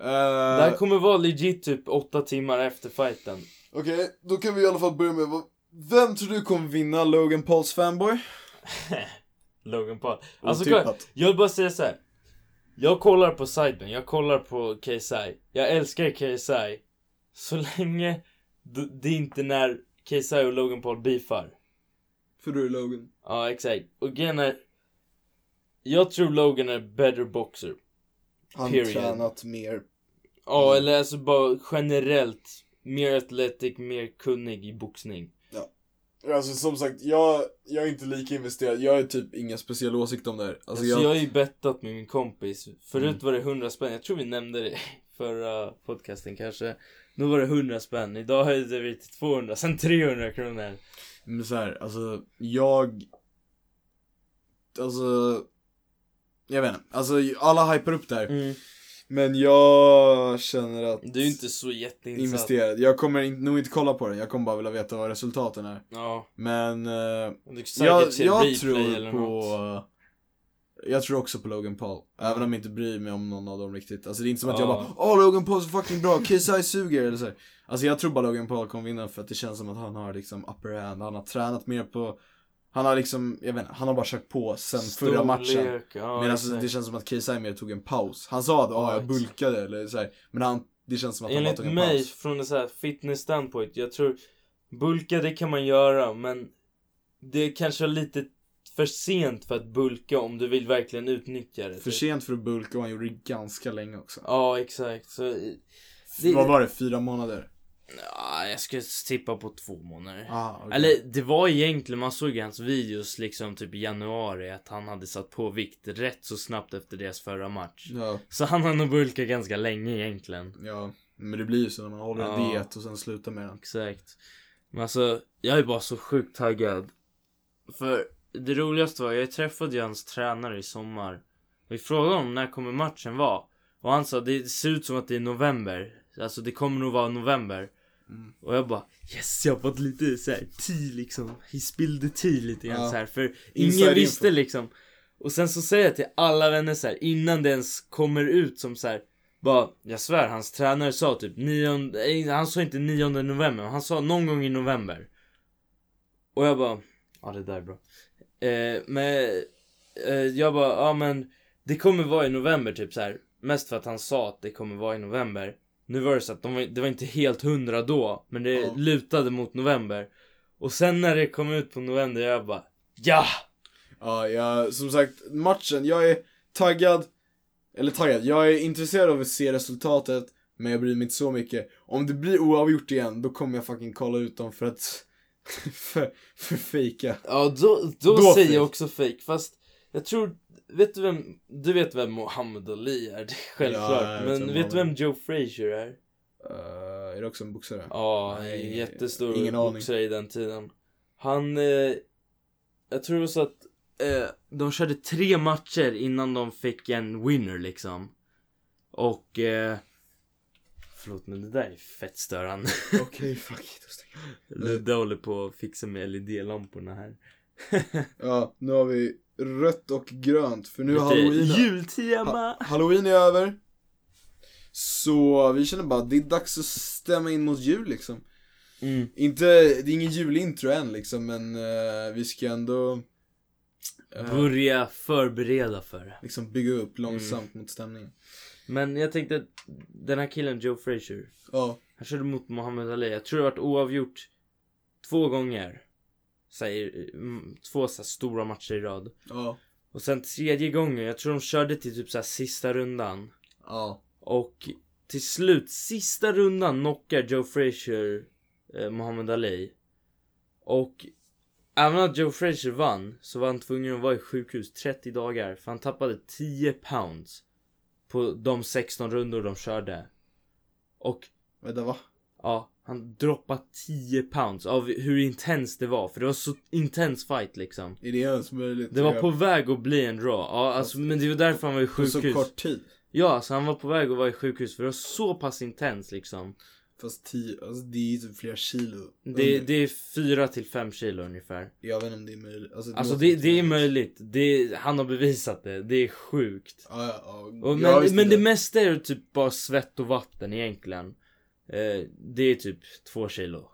Uh, Det här kommer vara legit typ åtta timmar efter fighten. Okej, då kan vi i alla fall börja med vad... Vem tror du kommer vinna Logan Pauls fanboy? Logan Paul. Alltså Otippat. kolla, jag vill bara säga så här. Jag kollar på sidemen, jag kollar på KSI. Jag älskar KSI. Så länge d- det är inte när KSI och Logan Paul beefar. För du är Logan. Ja, exakt. Och grejen är... Jag tror Logan är better boxer. Han Period. tränat mer. Ja, eller alltså bara generellt. Mer athletic, mer kunnig i boxning. Alltså som sagt, jag, jag är inte lika investerad. Jag har typ inga speciella åsikter om det här. Alltså, jag... har ju bettat med min kompis. Mm. Förut var det 100 spänn. Jag tror vi nämnde det i förra podcasten kanske. Då var det 100 spänn. Idag höjde vi till 200, sen 300 kronor. Men så här, alltså jag... Alltså... Jag vet inte. Alltså alla hypar upp det här. Mm. Men jag känner att Du är ju inte så jätteinsatt. investerad. Jag kommer in, nog inte kolla på den, jag kommer bara vilja veta vad resultaten är. Ja. Men eh, Du säkert jag, ser replay jag eller tror något. på... Jag tror också på Logan Paul, även om jag inte bryr mig om någon av dem riktigt. Alltså det är inte som att jag Ja. bara Åh Logan Paul är så fucking bra, KSI suger eller så. här. Alltså jag tror bara Logan Paul kommer vinna för att det känns som att han har liksom upper hand, han har tränat mer på... Han har liksom, jag vet inte, han har bara kört på sen förra matchen. Storlek, Ja, Men alltså exakt. det känns som att KSI mer tog en paus. Han sa att ah, Ja, jag exakt. bulkade eller så här. men han, det känns som att han bara Enligt tog en mig, paus. från en så här fitness standpoint, jag tror bulka det kan man göra men det är kanske lite för sent för att bulka om du vill verkligen utnyttja det. För typ. sent för att bulka och han gjorde det ganska länge också. Ja, exakt. Så, i- Det... Det- Vad var det, fyra månader? ja, jag skulle tippa på två månader. Ah, okej. Eller det var egentligen, man såg i hans videos liksom typ i januari att han hade satt på vikt rätt så snabbt efter deras förra match. Ja, Så han har nog bulkat ganska länge egentligen. ja, men det blir ju så när man håller en Ja. diet och sen slutar med den. Exakt. Men alltså, jag är bara så sjukt taggad. För det roligaste var, jag träffade ju hans tränare i sommar. Vi frågade honom när kommer matchen vara. Och han sa, det ser ut som att det är november. Alltså det kommer nog vara november. Mm. Och jag bara, yes jag har fått lite såhär tid liksom. He spilled the tea lite grann Ja. så här. För Inside ingen info. visste liksom. Och sen så säger jag till alla vänner så här innan det ens kommer ut som så här. Bara, jag svär hans tränare sa typ 9, eh, han sa inte 9 november, han sa någon gång i november. Och jag bara, ja det där är bra. Eh, men eh, jag bara, ja men det kommer vara i november typ så här. Mest för att han sa att det kommer vara i november. Nu var det så att de var, det var inte helt hundra då, men det Ja. lutade mot november. Och sen när det kom ut på november, jag bara, ja! Ja, jag, som sagt, matchen, jag är taggad. Eller taggad, jag är intresserad av att se resultatet. Men jag bryr mig inte så mycket. Om det blir oavgjort igen, då kommer jag fucking kolla ut dem för att... för, för fejka. Ja, då, då, Då säger fake. jag också fake. Fast jag tror, vet du vem, du vet vem Muhammad Ali är? Det är självklart. Ja, jag vet vem men vet du Muhammad- vem Joe Frazier är? Eh, är det också en boxare? Ja, han är Nej, en jättestor ingen aning. boxare i den tiden. Han, eh, jag tror det var så att eh, de körde tre matcher innan de fick en winner liksom. Och, eh, förlåt men det där är fett störande. Okej, fuck it. då stänger jag. Ludde håller på att fixa med LED-lamporna här. Ja, nu har vi rött och grönt för nu är halloween Lite jultema! Halloween är över. Så vi känner bara att det är dags att stämma in mot jul liksom. Mm. Inte, det är ingen julintro än liksom men eh, vi ska ändå eh, Börja förbereda för det. liksom bygga upp långsamt Mm. mot stämningen. Men jag tänkte, att den här killen Joe Frazier. Ja, Han körde mot Muhammad Ali. Jag tror det har varit oavgjort två gånger. Säger, mm, två så här stora matcher i rad. ja, Och sen tredje gången, jag tror de körde till typ så här sista rundan. ja. Och till slut, sista rundan knockar Joe Frazier eh, Muhammad Ali. Och även att Joe Frazier vann så var han tvungen att vara i sjukhus 30 dagar för han tappade 10 pounds på de 16 rundor de körde. Och Vänta va? Ja, han droppade 10 pounds av hur intens det var. För det var så intens fight liksom. Är det ens möjligt? Det var på väg att bli en draw. Ja, alltså, men det var därför han var i på så sjukhus. kort tid. Ja, alltså han var på väg att vara i sjukhus för det var så pass intens liksom. Fast tio, alltså det är ju typ flera kilo. Det, det är 4 till 5 kilo ungefär. Jag vet inte om det är möjligt. Alltså Alltså låter det, inte det är möjligt. Det, han har bevisat det. Det är sjukt. Ja, ja, ja. Och, Jag men visste men det inte. mesta är typ bara svett och vatten egentligen. Eh, det är typ 2 kilo.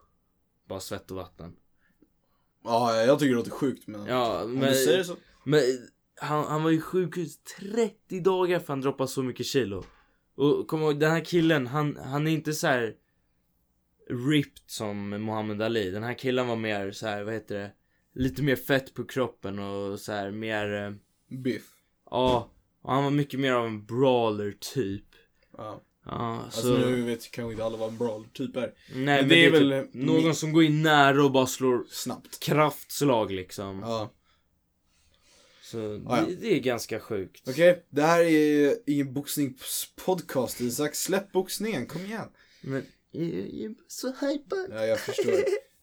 Bara svett och vatten. Ja, jag tycker det låter sjukt men... Ja, Om men... du säger så. Men han, han var ju sjukhus 30 dagar för han droppade så mycket kilo. Och kom ihåg den här killen, han, han är inte så här ripped som Muhammad Ali. Den här killen var mer så här, vad heter det? Lite mer fett på kroppen och så här mer, eh, Biff. ja. och han var mycket mer av en brawler typ. Ja. Ja, så. Alltså nu vet kanske inte alla vad en brawler typ är. nej men det är, väl typ någon som går in nära och bara slår Snabbt. kraftslag liksom. Ja. Så Ja, ja. det, det är ganska sjukt. Okej, det här är ingen boxningspodcast Isak. Släpp boxningen, kom igen. Men jag, jag är så hypad. Ja, jag förstår.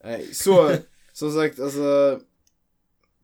Nej, så, som sagt, alltså.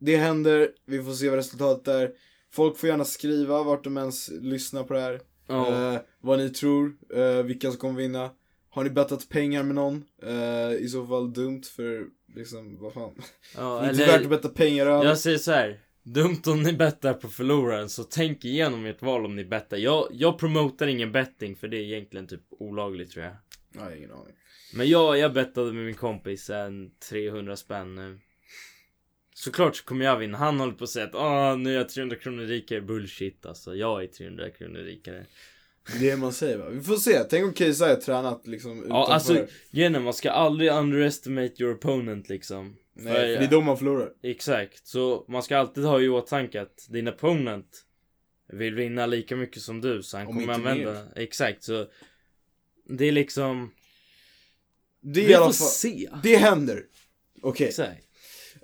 Det händer, vi får se vad resultatet är. Folk får gärna skriva vart de ens lyssnar på det här. Ja. Eh, vad ni tror, eh, vilka som kommer vinna. Har ni bettat pengar med någon? Eh, I så fall dumt för liksom, vad fan. ja, det är inte värt att eller, betta pengar över. jag säger så här. Dumt om ni bettar på förloraren så tänk igenom ert val om ni bettar. Jag, jag promotar ingen betting för det är egentligen typ olagligt tror jag. Nej, ingen aning. Men jag, jag bettade med min kompis en 300 spänn nu. Såklart så kommer jag vinna. Han håller på att säga att Åh, nu är jag 300 kronor rikare. Bullshit alltså. Jag är 300 kronor rikare. Det är man säger va. Vi får se, tänk om Kejsa har tränat liksom utanför. Ja alltså, genom man ska aldrig underestimate your opponent liksom. Nej, för det är då man förlorar. Exakt, så man ska alltid ha i åtanke att din opponent vill vinna lika mycket som du så han Om kommer inte använda. mer. Exakt, så det är liksom. Det är Vi i alla får fall, se. det händer. Okej. Exakt.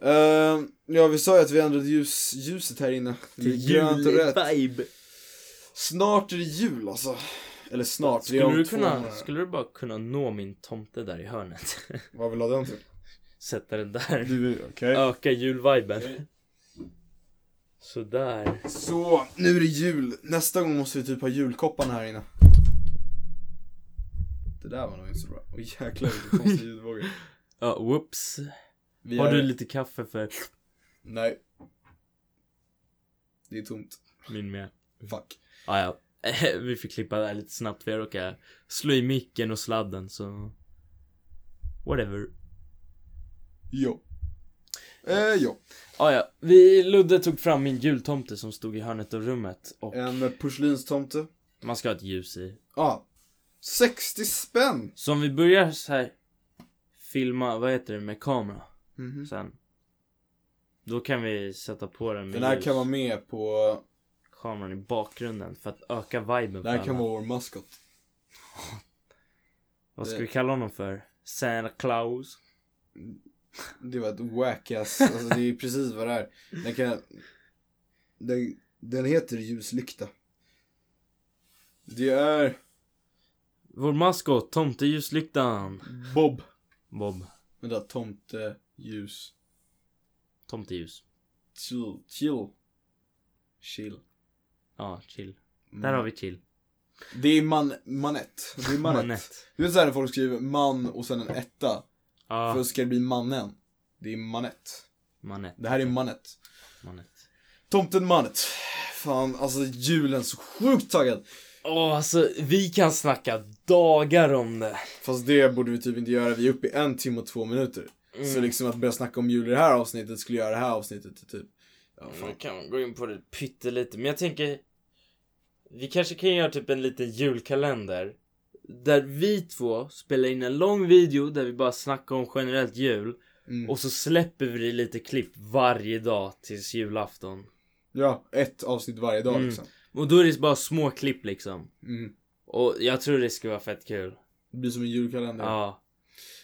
Eh, ja, vi sa ju att vi ändrade ljus, ljuset här inne. Det är grönt och rött. Vibe. Snart är det jul alltså. Eller snart, det är Skulle om du, två kunna, månader. skulle du bara kunna nå min tomte där i hörnet? Vad vill du ha den till? Sätta den där. Du, okej. Öka julviben. Okej. Sådär. Så, nu är det jul. Nästa gång måste vi typ ha julkopparna här inne. Det där var nog inte så bra. Åh jäklar vilken konstig ljudvåg. Ja, whoops. Vi Har är- du lite kaffe för Nej. Det är tomt. min med? Fuck. Ah, ja. Vi fick klippa det här lite snabbt. Vi råkade slå i micken och sladden så... Whatever. Jo. Eh, jo. Ah, ja. Vi, Ludde tog fram min jultomte som stod i hörnet av rummet och En porslinstomte. man ska ha ett ljus i. Ja. Ah. 60 spänn! Så om vi börjar så här filma, vad heter det, med kamera Mhm. sen. Då kan vi sätta på den med Den här ljus. kan vara med på... kameran i bakgrunden för att öka viben Den här för kan alla. vara vår maskot. Vad ska vi kalla honom för? Santa Claus? Det var ett whack ass. Alltså det är precis vad det är. Den kan... Den, den heter ljuslykta. Det är Vår maskot, tomteljuslyktan. Bob. Bob. Vänta, tomte, ljus, Tomteljus. chill, chill. Chill. Ja, chill. Mm. Där har vi chill. Det är man, manett. Det är manett. Manett. Du vet såhär när folk skriver man och sen en etta. För Ja, ska det bli mannen. Det är manett. manett. Det här är manett. Manett. Tomten manett. Fan, alltså julen, så sjukt taggad. Åh, alltså vi kan snacka dagar om det. Fast det borde vi typ inte göra, vi är uppe i en timme och två minuter. Mm. Så liksom att börja snacka om jul i det här avsnittet skulle göra det här avsnittet till typ... Ja, Nu fan. Mm, kan man gå in på det pyttelite, men jag tänker Vi kanske kan göra typ en liten julkalender Där vi två spelar in en lång video där vi bara snackar om generellt jul Mm. Och så släpper vi lite klipp varje dag tills julafton Ja, ett avsnitt varje dag Mm. liksom. Och då är det bara små klipp liksom Mm. Och jag tror det skulle vara fett kul Det blir som en julkalender. Ja.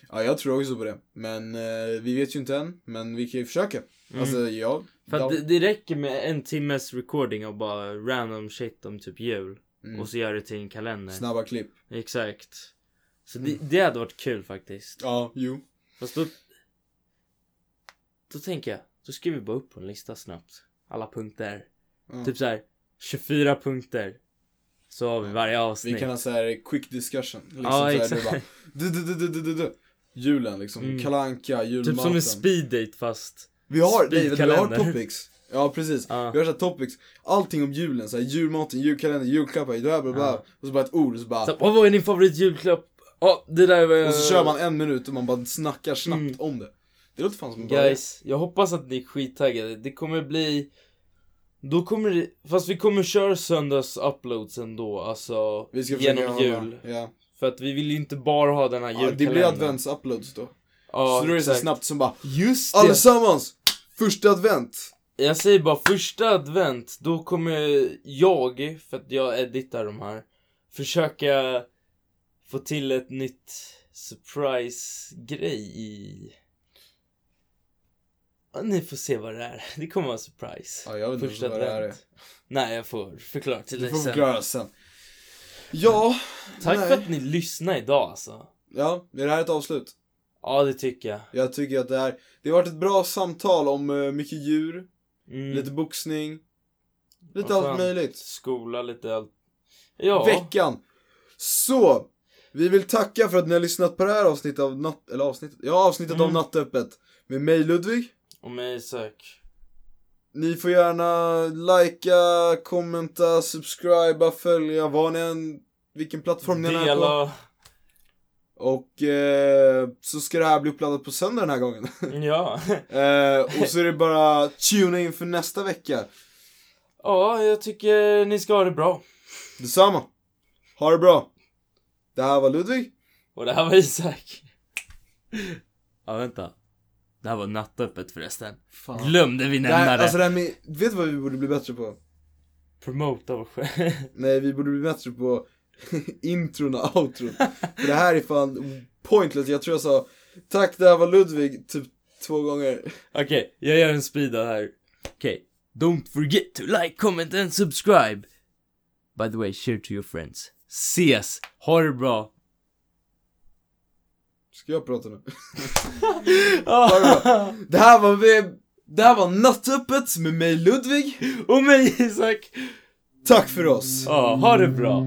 Ja, jag tror också på det. Men eh, vi vet ju inte än, men vi kan ju försöka. Mm. Alltså, ja. för att ja. det, det räcker med en timmes recording av bara random shit om typ jul Mm. Och så gör det till en kalender Snabba klipp. Exakt Så det, Mm. det hade varit kul faktiskt Ja, jo. Fast då... Då tänker jag, då skriver vi bara upp på en lista snabbt. Alla punkter. Ja. Typ så här, 24 punkter. Så har vi varje vi avsnitt. kan ha så här quick discussion. Liksom, ja, så här, exakt. du bara, du, du, du, du, du, du. Julen liksom, Mm. kalanka, julmaten. typ som en speed date fast. Vi har, David, vi har Spikkalender. topics. Ja precis, Ja. vi har såhär topics, allting om julen, såhär julmaten, julkalender, julklappar, det här, bla, bla, Ja. och så bara ett ord och så bara, Så, åh, vad är din favoritjulklapp? Ja, det där var... och så kör man en minut och man bara snackar snabbt Mm. om det. Det låter fan som en bra idé. Guys, jag hoppas att ni är skittaggade. Det kommer bli... Då kommer det... Fast vi kommer köra söndags uploads ändå, alltså. Vi ska försöka genom göra- jul. Ja. För att vi vill ju inte bara ha den här Ja, det julkalendern. blir adventsuploads då. Ja, så då är det så exakt. snabbt som bara, Just det! allesammans! Första advent! Jag säger bara första advent, då kommer jag, för att jag editar de här, försöka få till ett nytt surprise-grej i... Ja, ni får se vad det är. Det kommer vara en surprise. Ja, jag vet inte första vad det här är. advent. Nej, jag får förklara till Du dig får sen. förklara sen. Ja, Tack Nej. för att ni lyssnade idag alltså. ja, är det här ett avslut? Ja, det tycker jag. Jag tycker att det här, det har varit ett bra samtal om eh, mycket djur, Mm. lite boxning, lite Vad allt skönt. möjligt. Skola, lite allt. Ja. veckan. Så, vi vill tacka för att ni har lyssnat på det här avsnittet av natt, eller avsnittet, ja avsnittet av Mm. Nattöppet med mig Ludvig. Och med Isak. Ni får gärna likea, kommenta, subscriba, följa, vad ni än, vilken plattform ni än är på. Dela. Och eh, så ska det här bli uppladdat på söndag den här gången. Ja. eh, och så är det bara tuna in för nästa vecka. Ja, jag tycker ni ska ha det bra. Detsamma. Ha det bra. Det här var Ludvig. Och det här var Isak. Ja, vänta. Det här var nattöppet förresten. Glömde vi Det nämna här, det. alltså det här med, vet du vad vi borde bli bättre på? Promota vår själv. Nej, vi borde bli bättre på intron och outron. För det här är fan pointless. Jag tror jag sa tack, det här var Ludvig typ två gånger. Okej, jag gör en speeda här. Okej. Don't forget to like, comment and subscribe. By the way, share to your friends. Ses! Ha det bra! Ska jag prata nu? det Det här var, vi- det här var Nattöppet med mig Ludvig. Och mig Isak! Tack för oss. Ja, ha det bra!